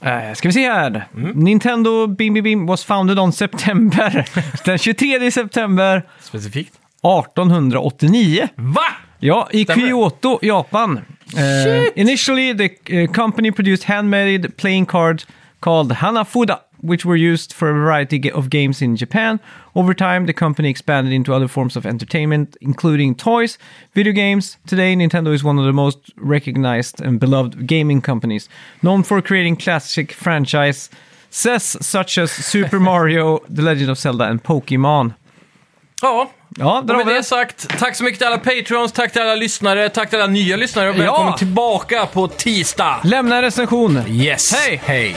S1: Eh, ska vi se här. Nintendo bim, bim, bim, was founded on September. (laughs) Den 23 september
S2: Specifikt.
S1: 1889.
S2: Va?
S1: Ja, i
S2: Stämmer det?
S1: Kyoto, Japan. Eh, initially the eh, company produced handmade playing cards called Hanafuda, which were used for a variety ga- of games in Japan. Over time, the company expanded into other forms of entertainment, including toys, video games. Today, Nintendo is one of the most recognized and beloved gaming companies, known for creating classic
S2: (laughs)
S1: franchises such as Super Mario, The Legend of Zelda, and Pokemon.
S2: Ja,
S1: Ja, där
S2: och
S1: har
S2: med
S1: vi
S2: det
S1: det.
S2: sagt, tack så mycket till alla Patreons, tack till alla lyssnare, tack till alla nya lyssnare och välkommen
S1: Ja.
S2: tillbaka på tisdag!
S1: Lämna en recension.
S2: Yes!
S1: Hej.
S2: Hej!